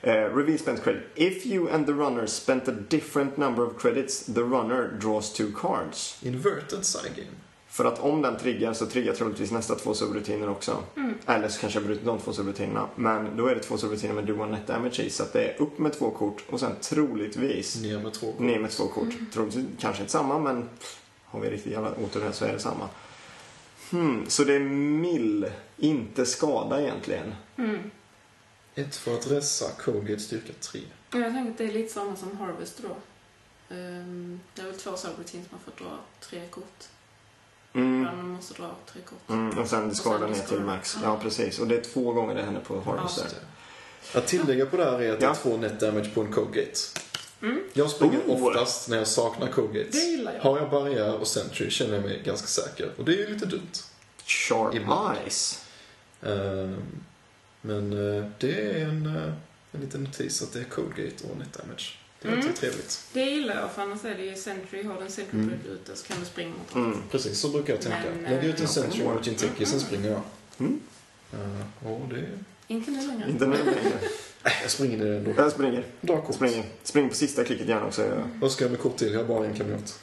Eh, reveal spent credit. If you and the runner spent a different number of credits, the runner draws two cards. Inverted side game. För att om den triggar så triggar troligtvis nästa två subrutiner också. Eller så kanske jag bryter de två subrutinerna. Men då är det två subrutiner med do one net damage i. Så att det är upp med två kort och sen troligtvis Ner med två ner med två kort. Troligtvis, kanske inte samma men har vi riktigt jävla otur här så är det samma. Hmm, så det är mill, inte skada egentligen. Hmm. Ett för att resa, Colgate styrka tre. Ja, Jag tänker att det är lite samma som Harvest då. Ehm, det är väl två subroutines man får dra tre kort. Mm. Man måste dra tre kort. Mm, och sen skada sen ner till skada. max. Ja, precis. Och det är två gånger det händer på Harvester. Just det. Att tillägga på det här är att det Ja. är två net damage på en Colgate. Mm. Jag springer Oh. oftast när jag saknar Colgate. Det gillar jag. Har jag barriär och sentry känner jag mig ganska säker. Och det är ju lite dumt. Sharp Ibland. eyes. Ehm, Men eh, det är en, eh, en liten notis att det är Colgate och net damage. Det låter Mm. trevligt. Det gillar jag, för annars är det ju Century. Har du en Century Mm. mm. ute så kan du springa mot honom. Mm. Precis, så brukar jag tänka. Men, Lägg ut en eh, century mot Jinteki, sen Mhm. springer jag. Mm. Eh, och det... Inte nu längre. Inte nu längre. Jag springer ändå. Jag springer. Du har kort. springer. Spring på sista klicket gärna också. Jag- Vad ska jag med kort till? Jag har bara en kamrat.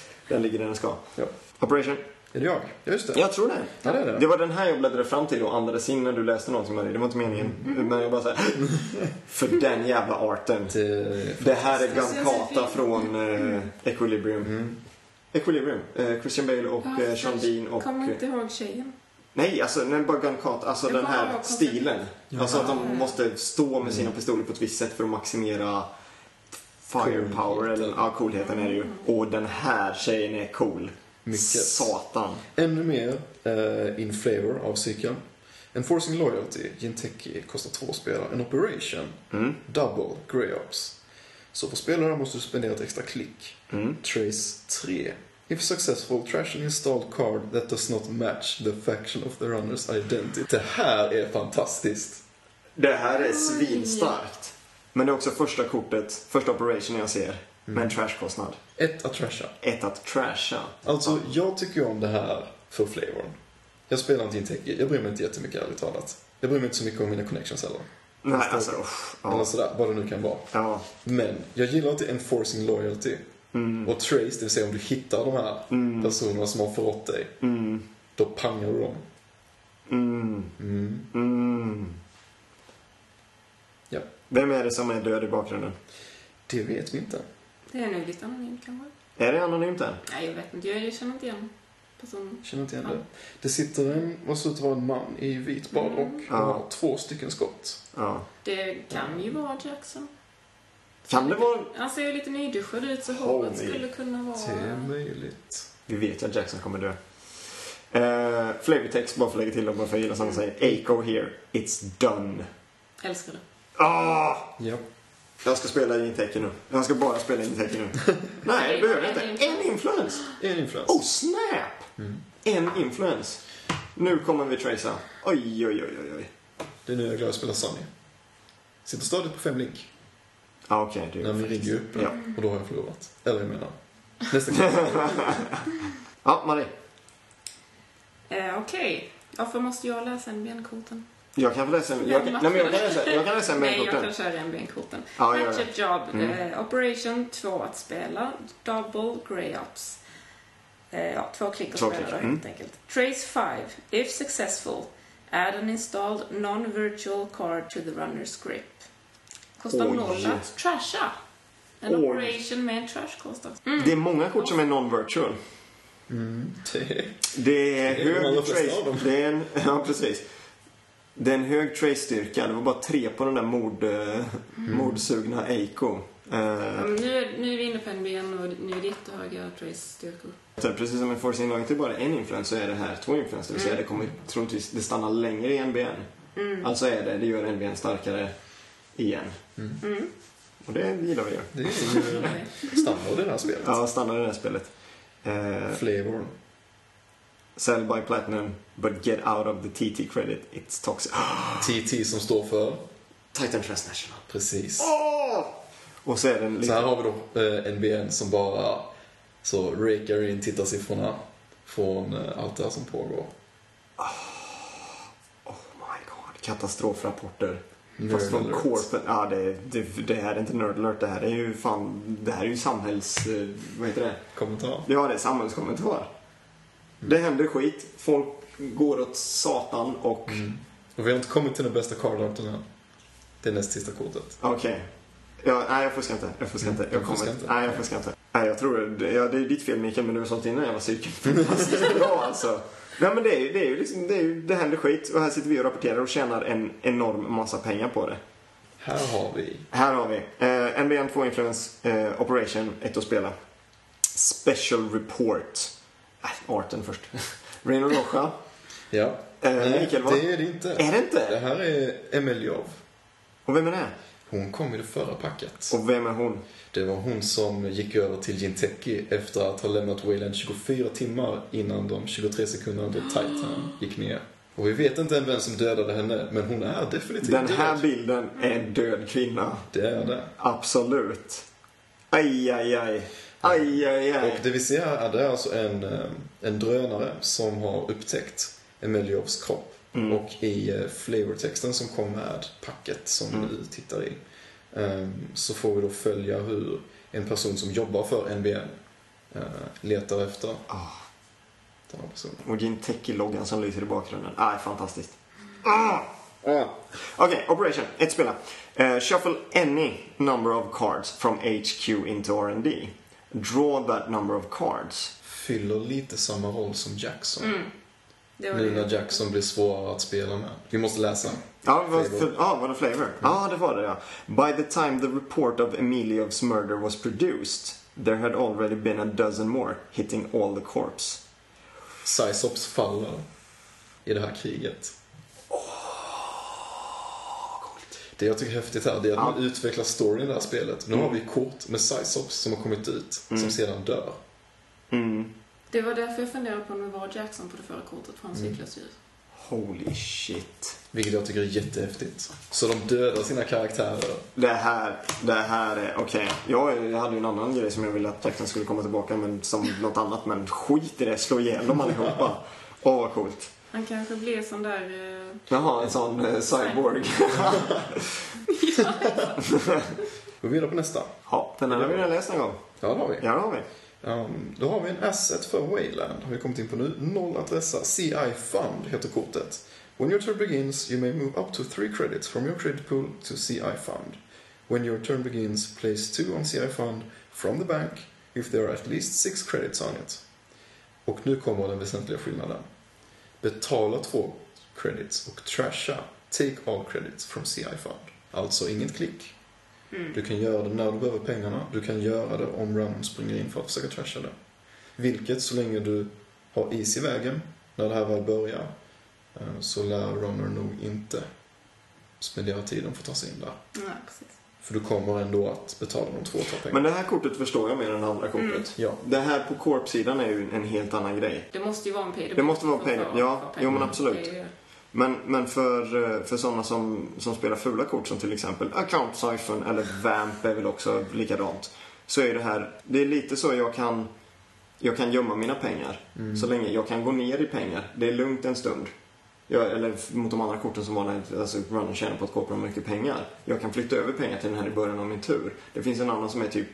(laughs) Den ligger där den ska. Ja. Operation. Är det jag? Ja, just det. Jag tror det. Ja, det är det. Det var den här jag bläddrade fram till och andades in när du läste någonting Marie. Det var inte meningen. Mm-hmm. Men jag bara såhär. (laughs) För den jävla arten. Det- Det här är Alltså, jag Gankata ser film. Mm-hmm. från eh, Equilibrium. Mm. Equilibrium. Eh, Christian Bale och Ja, eh, Sean Bean och... Kommer inte ihåg tjejen. Nej, alltså nej, bara Gunkata. Alltså Jag den bara här har koncept. stilen. Ja. Alltså att de Mm. måste stå med sina pistoler på ett visst sätt för att maximera firepower. Coolheten. Eller, ja, coolheten är det Mm. ju. Och den här tjejen är cool. Mycket. Satan. Ännu mer eh, in flavor av cykeln. Enforcing Loyalty, Jinteki, kostar två spelare. En Operation, Mm. Double, Grey Ops. Så på spelare måste du spendera ett extra klick. Mm. Trace 3. If successful, trash an installed card that does not match the faction of the runners identity. Det här är fantastiskt. Det här är svinstarkt. Men det är också första kortet, första operationen jag ser. Med en trashkostnad. Ett att trasha. Ett att trasha. Alltså, jag tycker ju om det här för flavorn. Jag spelar inte Jinteki, jag bryr mig inte jättemycket ärligt talat. Jag bryr mig inte så mycket om mina connections heller. Nej, alltså usch. Eller Ja. sådär, vad det nu kan vara. ja. Men jag gillar inte enforcing loyalty. Mm. Och trace, det vill säga om du hittar de här personerna som har förrått dig, Mm. då pangar du dem. Mm. Mm. Mm. Ja. Vem är det som är död i bakgrunden? Det vet vi inte. Det är nog lite anonymt kanske. Är det anonymt än? Nej, jag vet inte. Jag, jag känner inte igen personen. Känner inte igen det. Det sitter en, vad ser ut att vara en man i vit badrock. Han Ja. har två stycken skott. Ja. Det kan ju vara Jackson. Kan det vara... Han ser ju lite nyduschad ut så hoppet Holy. skulle kunna vara... Det är möjligt. Vi vet ju att Jackson kommer dö. Uh, Flavortext, bara för att lägga till och bara för att gilla som han säger. Aco here, it's done. Älskar det. Ah! Ja. Jag ska spela Jinteki nu. Jag ska bara spela Jinteki nu. Nej, det behöver jag inte. En influens! En influens. Oh, snap! En influens. Nu kommer vi tracea. Oj, oj, oj, oj, oj. Det är nu jag är glad att spela Sunny. Sitter stadigt på fem link. Ja, okej. det är När min perfekt. rigg är uppe. Ja. Och då har jag förlorat. Eller (laughs) jag menar, nästa gång. Ja, Marie. Eh, Okej. Varför måste jag läsa NBN-korten? Jag kan få läsa... Jag, nej, men jag kan läsa, jag kan läsa Nej, jag kan mailkorten. köra NBN-korten. Ja, gör det. Mm. Matchup job. Eh, operation 2 att spela. Double grey ops. Eh, ja, två klick att Två spela klick, då, mm. helt enkelt. Trace 5. If successful, add an installed non-virtual card to the runner's grip. Kostar Oj. noll att trasha. En Oj. operation med en trash kostar. Mm. Det är många kort som är non-virtual. Det- Det är Det är de allra hög flesta av dem. trace... Det är en, (laughs) ja, precis. Det är en hög trace-styrka. Det var bara tre på den där mord, eh, mordsugna Eiko. Eh, Mm, nu, är- nu är vi inne på NBN och nu är det jättehöga trace-styrkor. Så precis som i Forcing Loyalty bara en influens så är det här två influenser. Det vill Mm. säga det kommer troligtvis, det stannar längre i NBN. Alltså är det, det gör NBN starkare igen. Mm. Och det gillar vi ju. Det är ju standard i det här spelet. Ja, stannar i det här spelet. Eh, Flavorn. sell by platinum, but get out of the TT credit. It's toxic. (gasps) TT som står för... Titan Transnational. Precis. Åh! Och så är den Så lite... här har vi då eh, NBN som bara så rakar in tittarsiffrorna från eh, allt det här som pågår. Oh my god, katastrofrapporter. Nerd Fast från alert. corpen, ja det, det, det här är inte nerd alert, det här är ju fan, det här är ju samhälls, eh, vad heter det? Kommentar. Ja, det är samhällskommentar. Det händer skit. Folk går åt satan och... Och vi har inte kommit till den bästa cardarten än. Det är näst sista kortet. Okej. Ja, nej, jag fuskar inte. Jag fuskar inte. Mm, Jag du kommer fuskar inte. inte. Nej, jag fuskar inte. Nej, jag tror det. Ja, det är ditt fel Mikael, men du har sålt in den jävla cykeln (laughs) fantastiskt bra alltså. Nej, men det är ju, det är ju liksom, det, är ju, det händer skit och här sitter vi och rapporterar och tjänar en enorm massa pengar på det. Här har vi... Här har vi. Eh, NBN 2 Influence eh, Operation 1 att spela. Special Report. Äh, arten först. (laughs) Reino Rocha. Ja. Eh, Nej, Mikael, vad- det är det inte. Är det inte? Det här är Emeljov. Och vem är det? Hon kom i det förra packet. Och vem är hon? Det var hon som gick över till Jinteki efter att ha lämnat Wayland 24 timmar innan de 23 sekunderna då Titan gick ner. Och vi vet inte än vem som dödade henne, men hon är definitivt Den här död. bilden är en död kvinna. Det är det. Absolut. Aj, aj, aj. Aj, aj, Och aj. det vi ser här är det är alltså en, eh, en drönare som har upptäckt Emeliovs kropp. Mm. Och i eh, flavortexten som kom med packet som Mm. vi tittar i eh, så får vi då följa hur en person som jobbar för NBN eh, letar efter Ah. den här personen. Och din Teki-loggan som lyser i bakgrunden. Ah, fantastiskt. Ah! Ah. Okej, Operation. Ett spela. Eh, shuffle any number of cards from HQ into R&D. Draw that number of cards. Fyller lite samma roll som Jackson. Mm. Det var Nu när det. Jackson blir svårare att spela med. Vi måste läsa. Ja, vad Flavor. för, ah, var det flavor? Ja, ah, det var det ja. By the time the report of Emilio's murder was produced there had already been a dozen more hitting all the corpse. Cysops faller i det här kriget. Det jag tycker är häftigt här det är att man utvecklar storyn i det här spelet. Nu har vi kort med Cysops som har kommit ut, som sedan dör. det var därför jag funderade på om det var Jackson på det förra kortet, för han cyklas ju. Holy shit. Vilket jag tycker är jättehäftigt. Så de dödar sina karaktärer. Det här, det här är, okej. Jag, jag hade ju en annan grej som jag ville att Jackson skulle komma tillbaka men som något annat. Men skit i det, slå ihjäl dem allihopa. Åh vad coolt. Han kanske blir sån där... eh, Jaha, en sån eh, cyborg. Vi går vidare på nästa. ja, den här har vi redan läst någon gång. Ja, det har vi. Ja, det har vi. Ehm, då har vi en asset för Wayland. Har vi kommit in på nu. Noll adressa. CI Fund heter kortet. When your turn begins you may move up to three credits from your credit pool to CI Fund. When your turn begins place two on CI Fund from the bank if there are at least six credits on it. Och nu kommer den väsentliga skillnaden. Betala två credits och trasha take all credits from CI Fund. Alltså inget klick. Du kan göra det när du behöver pengarna. Du kan göra det om Round springer in för att försöka trasha det. Vilket, så länge du har is i vägen när det här väl börjar, eh, så lär Runner nog inte spendera tiden för att ta sig in där. Ja, precis. För du kommer ändå att betala de två och ta pengarna. Men det här kortet förstår jag mer än det andra kortet. Ja. Det här på korpsidan är ju en helt annan grej. Det måste ju vara en pay Det måste vara en för- pay- för- ja, för jo, men pengar. absolut. Det är ju- Men, men för, eh, för sådana som, som spelar fula kort som till exempel Account Siphon eller Vamp är väl också likadant. Så är det här, det är lite så jag kan, jag kan gömma mina pengar. Mm. Så länge jag kan gå ner i pengar. Det är lugnt en stund. Jag, eller f- mot de andra korten som var när alltså, runnern tjänar på att koppla mycket pengar. Jag kan flytta över pengar till den här i början av min tur. Det finns en annan som är typ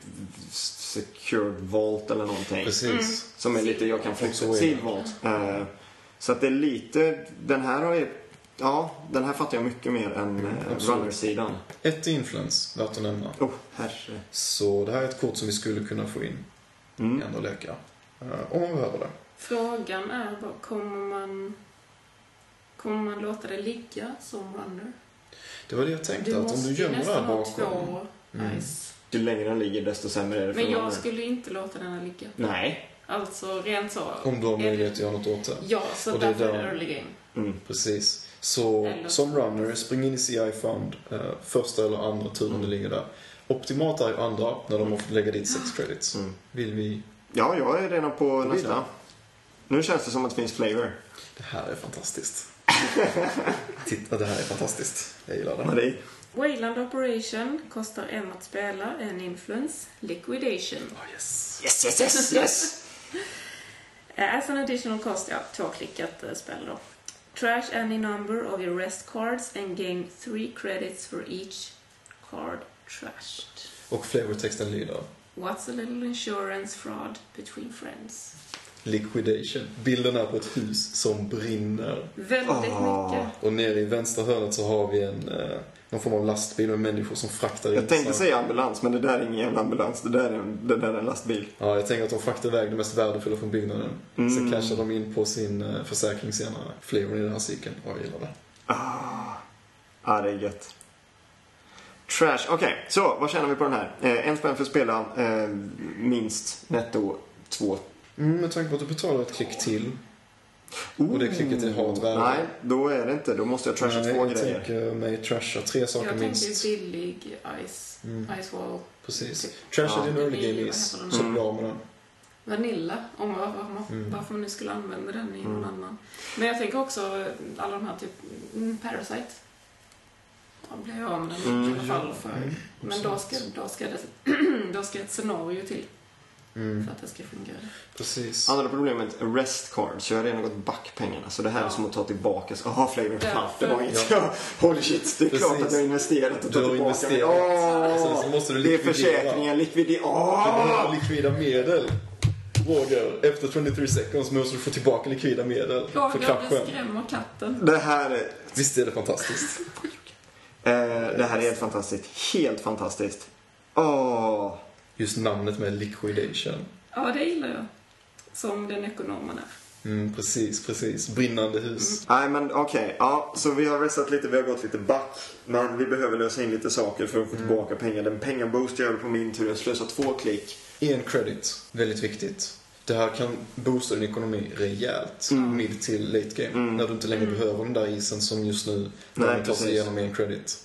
Secured Vault eller någonting. Precis. Mm. Som är lite, jag kan Så är flytta. det. Silvolt. Eh, så att det är lite, den här har ju, ja, den här fattar jag mycket mer än eh, absolut. runnersidan. Ett är influence, värt att nämna. Oh, herre. Så det här är ett kort som vi skulle kunna få in i Mm. andra lekar. eh, Om man behöver det. Frågan är bara, kommer man... Kommer man låta det ligga som runner? Det var det jag tänkte, att om du ju gömmer det här nästan ha bakom... Mm. två ice. Ju längre den ligger desto sämre är det för Men jag runner. skulle inte låta den här ligga. Nej. Alltså, rent så. Om du har möjlighet att göra något åt det. Ja, så Och det är därför är det där- early game. Mm. Precis. Så Eller- som runner, spring in i CI Fund eh, första eller andra turen Mm. det ligger där. Optimalt är ju andra, när de måste lägga dit sex credits. Mm. Vill vi... Ja, jag är redan på Vidare. nästa. Nu känns det som att det finns flavor. Det här (laughs) är fantastiskt. Titta, det här är fantastiskt. Jag gillar det. Marie. Wayland Operation kostar en att spela, en influence, liquidation. Oh, yes. Yes, yes, yes, yes! Eh, As an additional cost, ja, tvåklickat eh, spel då. Trash any number of your rest cards and gain three credits for each card trashed. Och flavortexten lyder What's a little insurance fraud between friends? Liquidation. Bilden är på ett hus som brinner. Väldigt Ah. mycket. Och nere i vänstra hörnet så har vi en, eh, någon form av lastbil med människor som fraktar in. Jag tänkte såna- säga ambulans, men det där är ingen jävla ambulans. Det där är en, det där är en lastbil. Ja, jag tänker att de fraktar iväg det mest värdefulla från byggnaden. Sen cashar de in på sin eh, försäkring senare. Flavorn i den här cykeln. Ja, jag gillar det. Ja, det är gött. Trash. Okej, så vad tjänar vi på den här? Eh, en spänn för att spela eh, minst netto två. Mm, med tanke på att du betalar ett klick till. Ooh. det klicket är hat värde. Nej, då är det inte. Då måste jag trasha Nej, två jag grejer. tänker mig trasha tre saker Jag tänkte ju minst. billig ice, ice wall. Mm. Precis. Trasha din Det early blir- game typ- vad is. heter den? Mm. Så blir du av med den. Vanilla, om var- var man, Mm. varför man nu skulle använda den i Mm. någon annan. Men jag tänker också eh, alla de här typ mm, Parasite. De blir jag av med den Mm, i alla fall. För, men då ska, då, ska det, (clears throat) då ska ett scenario till Mm. för att det ska fungera. Precis. Andra problemet, rest cards. Jag har redan gått back pengarna. Så det här är Ja. som att ta tillbaka. så, Jaha, flavor. Ja, Fan, det för- var inget. (laughs) Holy shit, det är Precis. klart att jag har investerat och Du tagit har tillbaka. men, investerat. Sen åh, så måste du det är Ah! likvidera. försäkringen, likvidera. Du Åh! behöver Ah, likvida medel. Roger, efter 23 seconds måste du få tillbaka likvida medel för Roger, du kraschen. skrämmer katten. Det här, eh, är- Visst är det fantastiskt? eh, det här är helt fantastiskt. Helt fantastiskt. Ah! Åh! Just namnet med liquidation. Ja, det gillar jag. Som den ekonomen är. Mm, precis, precis. Brinnande hus. Nej men okej, ja, så vi har restat lite, vi har gått lite back. Men vi behöver lösa in lite saker för att få tillbaka pengar. Den pengaboost jag gjorde på min tur, jag slösade två klick. En credit, väldigt viktigt. Det här kan boosta din ekonomi rejält Mm. mid till late game. När du inte längre behöver den där isen som just nu Nej, när man tar sig precis. igenom en credit.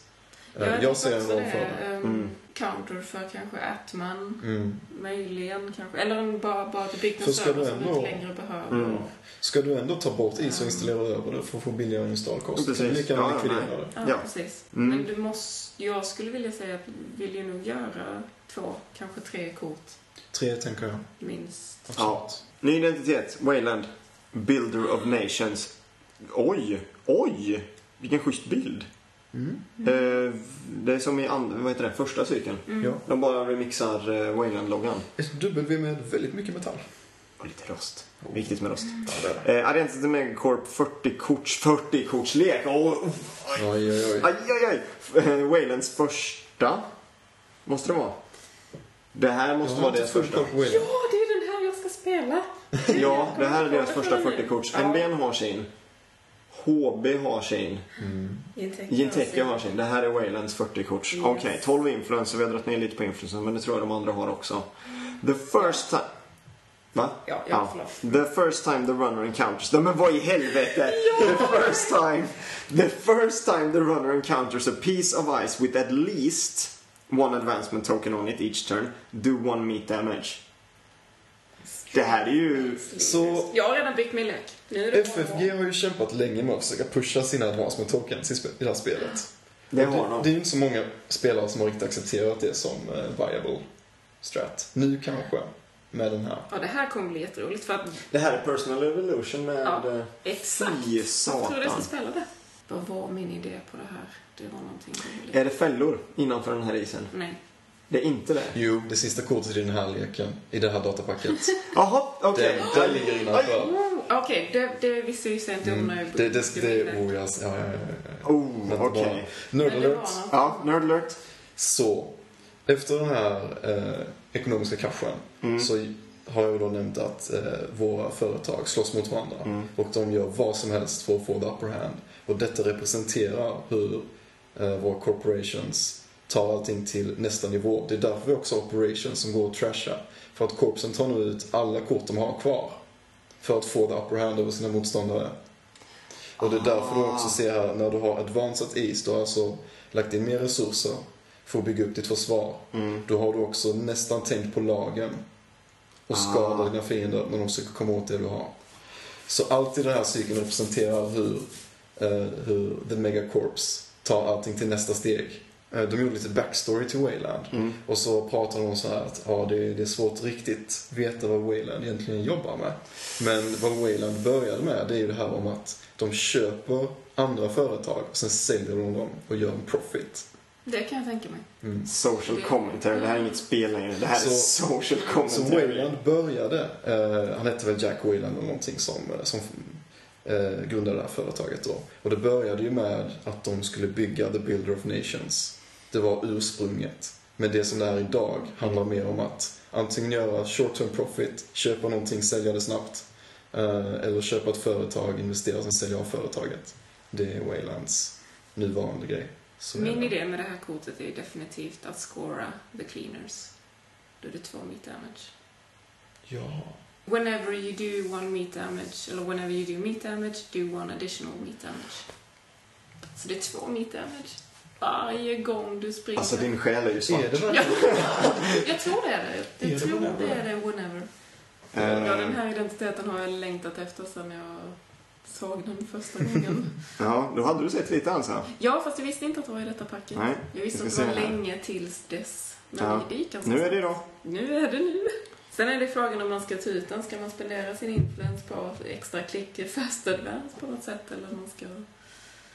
Eh, Jag, tycker ser en också roll det för är, det. ehm, Counter för kanske Atman, Mm. möjligen kanske. Eller en- bara, bara till Big Så ska Concern du som vi ändå- inte längre behöver. Mm. Ska du ändå ta bort is och installera över det för att få billigare installkost? Precis. Kan du lika gärna Ja, likvidera nej. det? Ja, Ja. precis. Mm. Men du måste, jag skulle vilja säga att vi vill ju nog göra två, kanske tre kort Tre tänker jag. minst. Absolut. Ny identitet, Wayland. Builder of Nations. Oj, oj! Vilken schysst bild. Mm. Eh, det är som i and- vad heter det, första cykeln. Ja. De bara remixar eh, Wayland-loggan. Ett W med väldigt mycket metall. Och lite rost. Viktigt med rost. Ja, det är det. Eh, Identity Megacorp 40-korts, 40-kortslek. Åh, oh, Oj, oj, oj. Aj, aj, aj. F- eh, Waylands första. Måste det vara. Det här måste vara deras första. Ja, det är den här jag ska (laughs) spela! Ja, det här är Jag kommer deras inte på första det nu. 40-korts. Ja. NBN har sin. HB har sin. Intecker. Gintecca har sin. Det här är Waylands 40-korts. Yes. Okej, 12 influencer. Vi har dragit ner lite på influencer, men det tror jag de andra har också. The first time... Va? Ja, ja, Ja. förlåt. The first time the runner encounters... Nej, men vad i (laughs) helvete! The first time... The first time the runner encounters a piece of ice with at least one advancement token on it each turn, do one meat damage. Det här är ju... Så- Jag har redan byggt min lek. Nu är det FFG har ju kämpat länge med att försöka pusha sina advancement tokens i, spe- i det här spelet. Det Och har de. det är ju inte så många spelare som har riktigt accepterat det som eh, viable strat. Nu kanske, med den här. Ja, det här kommer bli jätteroligt för att... Det här är Personal Evolution med... Ja. eh, Exakt! Fy Jag tror jag ska satan. spela det. Vad var min idé på det här? Det var någonting roligt. Eh. Är det fällor innanför den här isen? Nej. Det är inte det. Jo, det sista kortet i den här leken, i det här datapacket, Jaha, (laughs) okej. det, det ligger innanför. Mm. Oh, Okej, det, det visste jag ju sen inte om när jag Det, det, det, byggde min lek. oh, jag, ja, ja, ja, ja, ja. Oh, Vänta okej. bara. Nerd Men det var alert. något. Ja, nerd alert. Så, efter den här eh, ekonomiska kraschen Mm. så har jag ju då nämnt att eh, våra företag slåss mot varandra Mm, och de gör vad som helst för att få the upper hand. Och detta representerar hur eh, våra corporations tar allting till nästa nivå. Det är därför vi också har operations som går att trasha. För att korpsen tar nu ut alla kort de har kvar för att få the upper hand över sina motståndare. Och det är därför du också ser här, när du har advanced is, du har alltså lagt in mer resurser för att bygga upp ditt försvar. mm, Då har du också nästan tänkt på lagen och skadar dina fiender när de försöker komma åt det du har. Så allt i den här cykeln representerar hur, eh, hur The Megacorps tar allting till nästa steg. Eh, de gjorde lite backstory till Wayland mm. och så pratar de om så här att ja, det, är- det är svårt att riktigt veta vad Wayland egentligen jobbar med. Men vad Wayland började med det är ju det här om att de köper andra företag och sen säljer de dem och gör en profit. Mm. Det kan jag tänka mig. Social commentary. Det här är inget spel längre. Det här är Så- social Så commentary. Wayland började, eh, han hette väl Jack Wayland eller någonting som, eh, som eh, grundade det här företaget då. Och det började ju med att de skulle bygga The Builder of Nations. Det var ursprunget. Men det som det är idag handlar mer om att antingen göra short term profit, köpa någonting, sälja det snabbt. Eh, eller köpa ett företag, investera, sen sälja av företaget. Det är Waylands nuvarande grej. Så Min idé med det här kortet är ju definitivt att scora the cleaners. Då är det två meat damage. Ja. Whenever you do one meat damage, eller whenever you do meat damage, do one additional meat damage. Så det är två meat damage. Varje gång du springer. Alltså din själ är ju svart. Är det verkligen Ja, jag tror det är det. Är Jag det tror whenever? det är det whenever. Ja, den Eh, här identiteten har jag längtat efter sedan jag såg den första gången. (laughs) Ja, då hade du sett lite alltså. ja, fast jag visste inte att det var i detta packet. Nej, jag visste vi att ska det var se här. länge tills dess. Men Ja. det gick ganska Nu är det snabbt. idag. Nu är det nu. Sen är det frågan om man ska ta ut den. Ska man spendera sin influens på extra klick i fast advance på något sätt? Eller, man ska...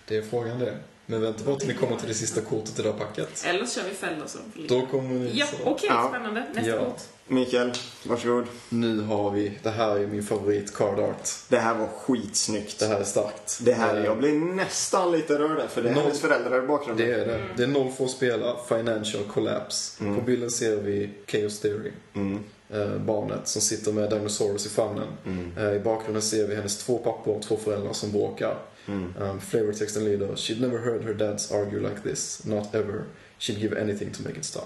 Det är frågan det. Men vänta bara till ni kommer till det sista kortet i det här packet. eller kör vi fällor som Då kommer ni... Ja, så- okej, Ja. spännande. Nästa Ja. ort. Mikael, varsågod. Nu har vi, det här är min favorit card art. Det här var skitsnyggt. Det här är starkt. Det här, Eh, jag blir nästan lite rörd där, för det är Noll. hennes föräldrar i bakgrunden. Det är det. Det är noll för att spela, financial collapse. På bilden ser vi Chaos Theory. Mm. Eh, barnet som sitter med Dinosaurus i famnen. mm, Eh, I bakgrunden ser vi hennes två pappor och två föräldrar som bråkar. Mm. Um, flavortexten lyder She'd never heard her dads argue like this. Not ever. She'd give anything to make it stop.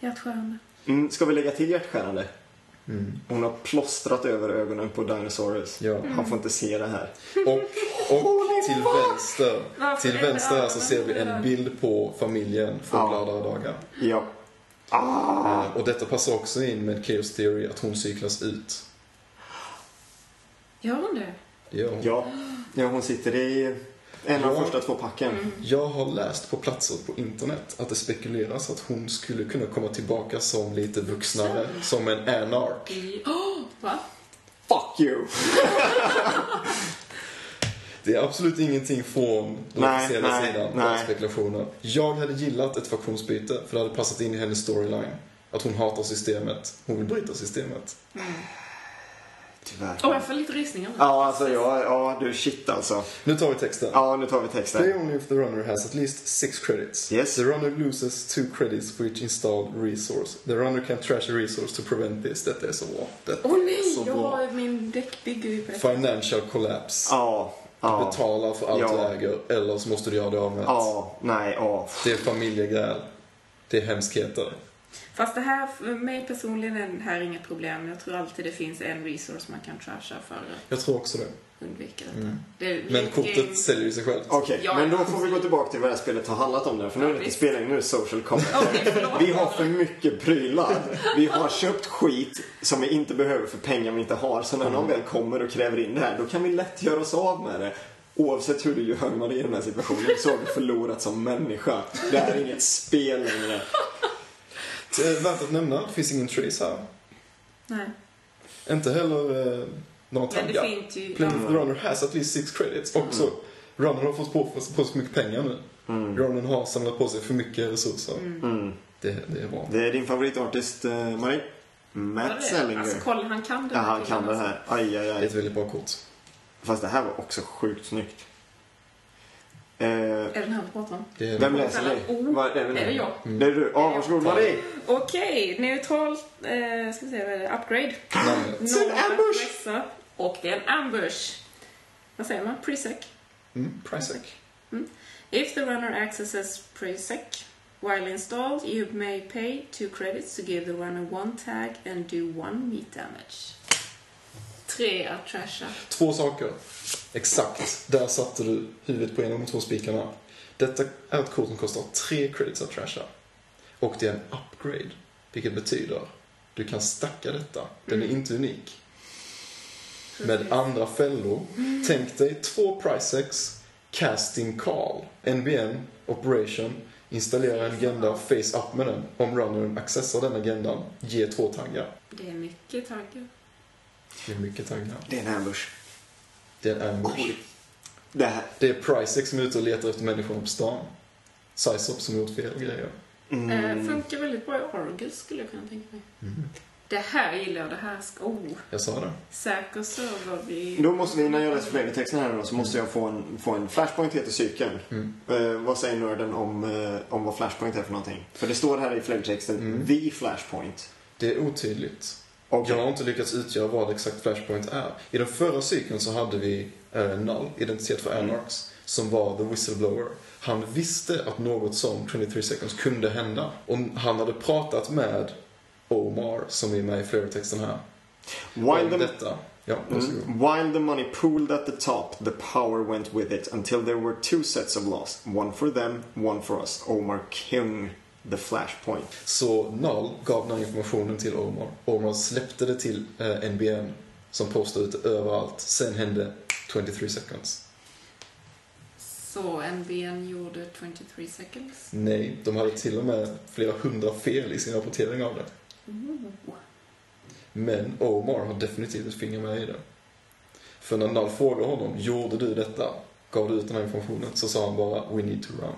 Hjärtstjärna. Mm, ska vi lägga till hjärtskärande? Mm. Hon har plåstrat över ögonen på Dinosaurus. Ja. Han får inte se det här. Och, och till vänster, Varför till är det vänster här så ögonen ser vi en där? bild på familjen från Ja. gladare dagar. Ja. Ah! Eh, Och detta passar också in med Chaos Theory, att hon cyklas ut. Gör hon det? Det gör hon. Ja. ja, hon sitter i en av de Ja. första två packen. Jag har läst på platser på internet att det spekuleras att hon skulle kunna komma tillbaka som lite vuxnare, som en anark. I... Åh, va? Fuck you! Det är absolut ingenting från den Nej, officiella nej, sidan, nej. bara spekulationer. Jag hade gillat ett faktionsbyte, för det hade passat in i hennes storyline. Att hon hatar systemet, hon vill bryta systemet. Tyvärr. Åh, jag får lite rysningar nu. Ja, alltså ja, ja, du shit alltså. Nu tar vi texten. Ja, nu tar vi texten. Play only if the runner has at least six credits. Yes. The runner loses two credits for each installed resource. The runner can trash a resource to prevent this. Detta är så bra. Detta Åh är nej, så jag bra. har min däckbygge i på detta. Financial collapse. Ja, ja. Betala för allt Ja. läger, eller så måste du göra det av med. Ja, nej, ja. Det är familjegräl. Det är hemskheter. Fast det här, för mig personligen är det här inget problem. Jag tror alltid det finns en resource man kan trasha för att Jag tror också det. undvika detta. Det är Mm. Men late kortet game. säljer ju sig självt. Okej, Ja, men då ja. får vi gå tillbaka till vad det här spelet har handlat om nu. För nu är det inte Visst. spelning, nu är det social commerce. Okej, (laughs) förlåt. Vi har för mycket prylar. Vi har köpt skit som vi inte behöver för pengar vi inte har. Så när någon väl kommer och kräver in det här, då kan vi lätt göra oss av med det. Oavsett hur du gör man är i den här situationen så har du förlorat som människa. Det här är inget spel längre. Eh, Värt att nämna, det finns ingen trace här. Nej, Inte heller eh, några men tankar. det finns ju... Play of the Runner has at least six credits också. Runner har fått på, på så mycket pengar nu. Runner har samlat på sig för mycket resurser. Det, det är bra. Det är din favoritartist, eh, Marie? Matt Sellinger. Alltså kolla, han kan det. ja, han kan det här. Aj, aj, Det är aj. ett väldigt bra kort. Fast det här var också sjukt snyggt. Eh, Är det den här vi pratar om? Det är Vem läser dig? Oh, Vad- är är det jag? Det är du. Ja, varsågod Marie. Okej, neutral... Eh, ska vi se, vad är det? Upgrade. namnet? Det är en Några ambush. vässar. Och det är en ambush. Vad säger man? Presec. Mm, Prisek. If the runner accesses Presec while installed, you may pay two credits to give the runner one tag and do one meat damage. Tre att trasha. Två saker. Exakt. Där satte du huvudet på en av de två spikarna. Detta är ett kort som kostar tre credits att trasha. Och det är en upgrade. Vilket betyder du kan stacka detta. Den är inte unik. Med andra fällor. Tänk dig två prisex, casting call, NBN, operation, installera en agenda face up med den. Om runnern accessar den agendan, ge två taggar. Det är mycket taggar. Det är mycket taggar. Det är en ambush. Det är en ambush. Det här. Det är Pricex som är ute och letar efter människor på stan. Sizop som gjort fel grejer. Mm. Eh, funkar väldigt bra i Argus skulle jag kunna tänka mig. Det här gillar jag. Det här ska... Oh, Jag sa det. säker server vid... Då måste vi, när jag läser flavortexten här nu då, så måste jag få en, få en flashpoint heter cykeln. Eh, vad säger nörden om, eh, om vad flashpoint är för någonting? För det står här i flavortexten, the flashpoint. Det är otydligt. Okej. Jag har inte lyckats utgöra vad exakt Flashpoint är. I den förra cykeln så hade vi eh, Null, identitet för Anarchs, som var the whistleblower. Han visste att något som 23 seconds kunde hända. Och han hade pratat med Omar, som är med i flavortexten här, While om the, detta. Ja, varsågod. Mm. While the money pooled at the top, the power went with it until there were two sets of laws. One for them, one for us. Omar Kung The Flashpoint. Så Null gav den här informationen till Omar. Omar släppte det till eh, NBN som postade ut det överallt. Sen hände 23 seconds. Så NBN gjorde 23 seconds. Nej, de hade till och med flera hundra fel i sin rapportering av det. Ooh. Men Omar har definitivt ett finger med i det. För när Null frågade honom, gjorde du detta? Gav du ut den här informationen? Så sa han bara, we need to run.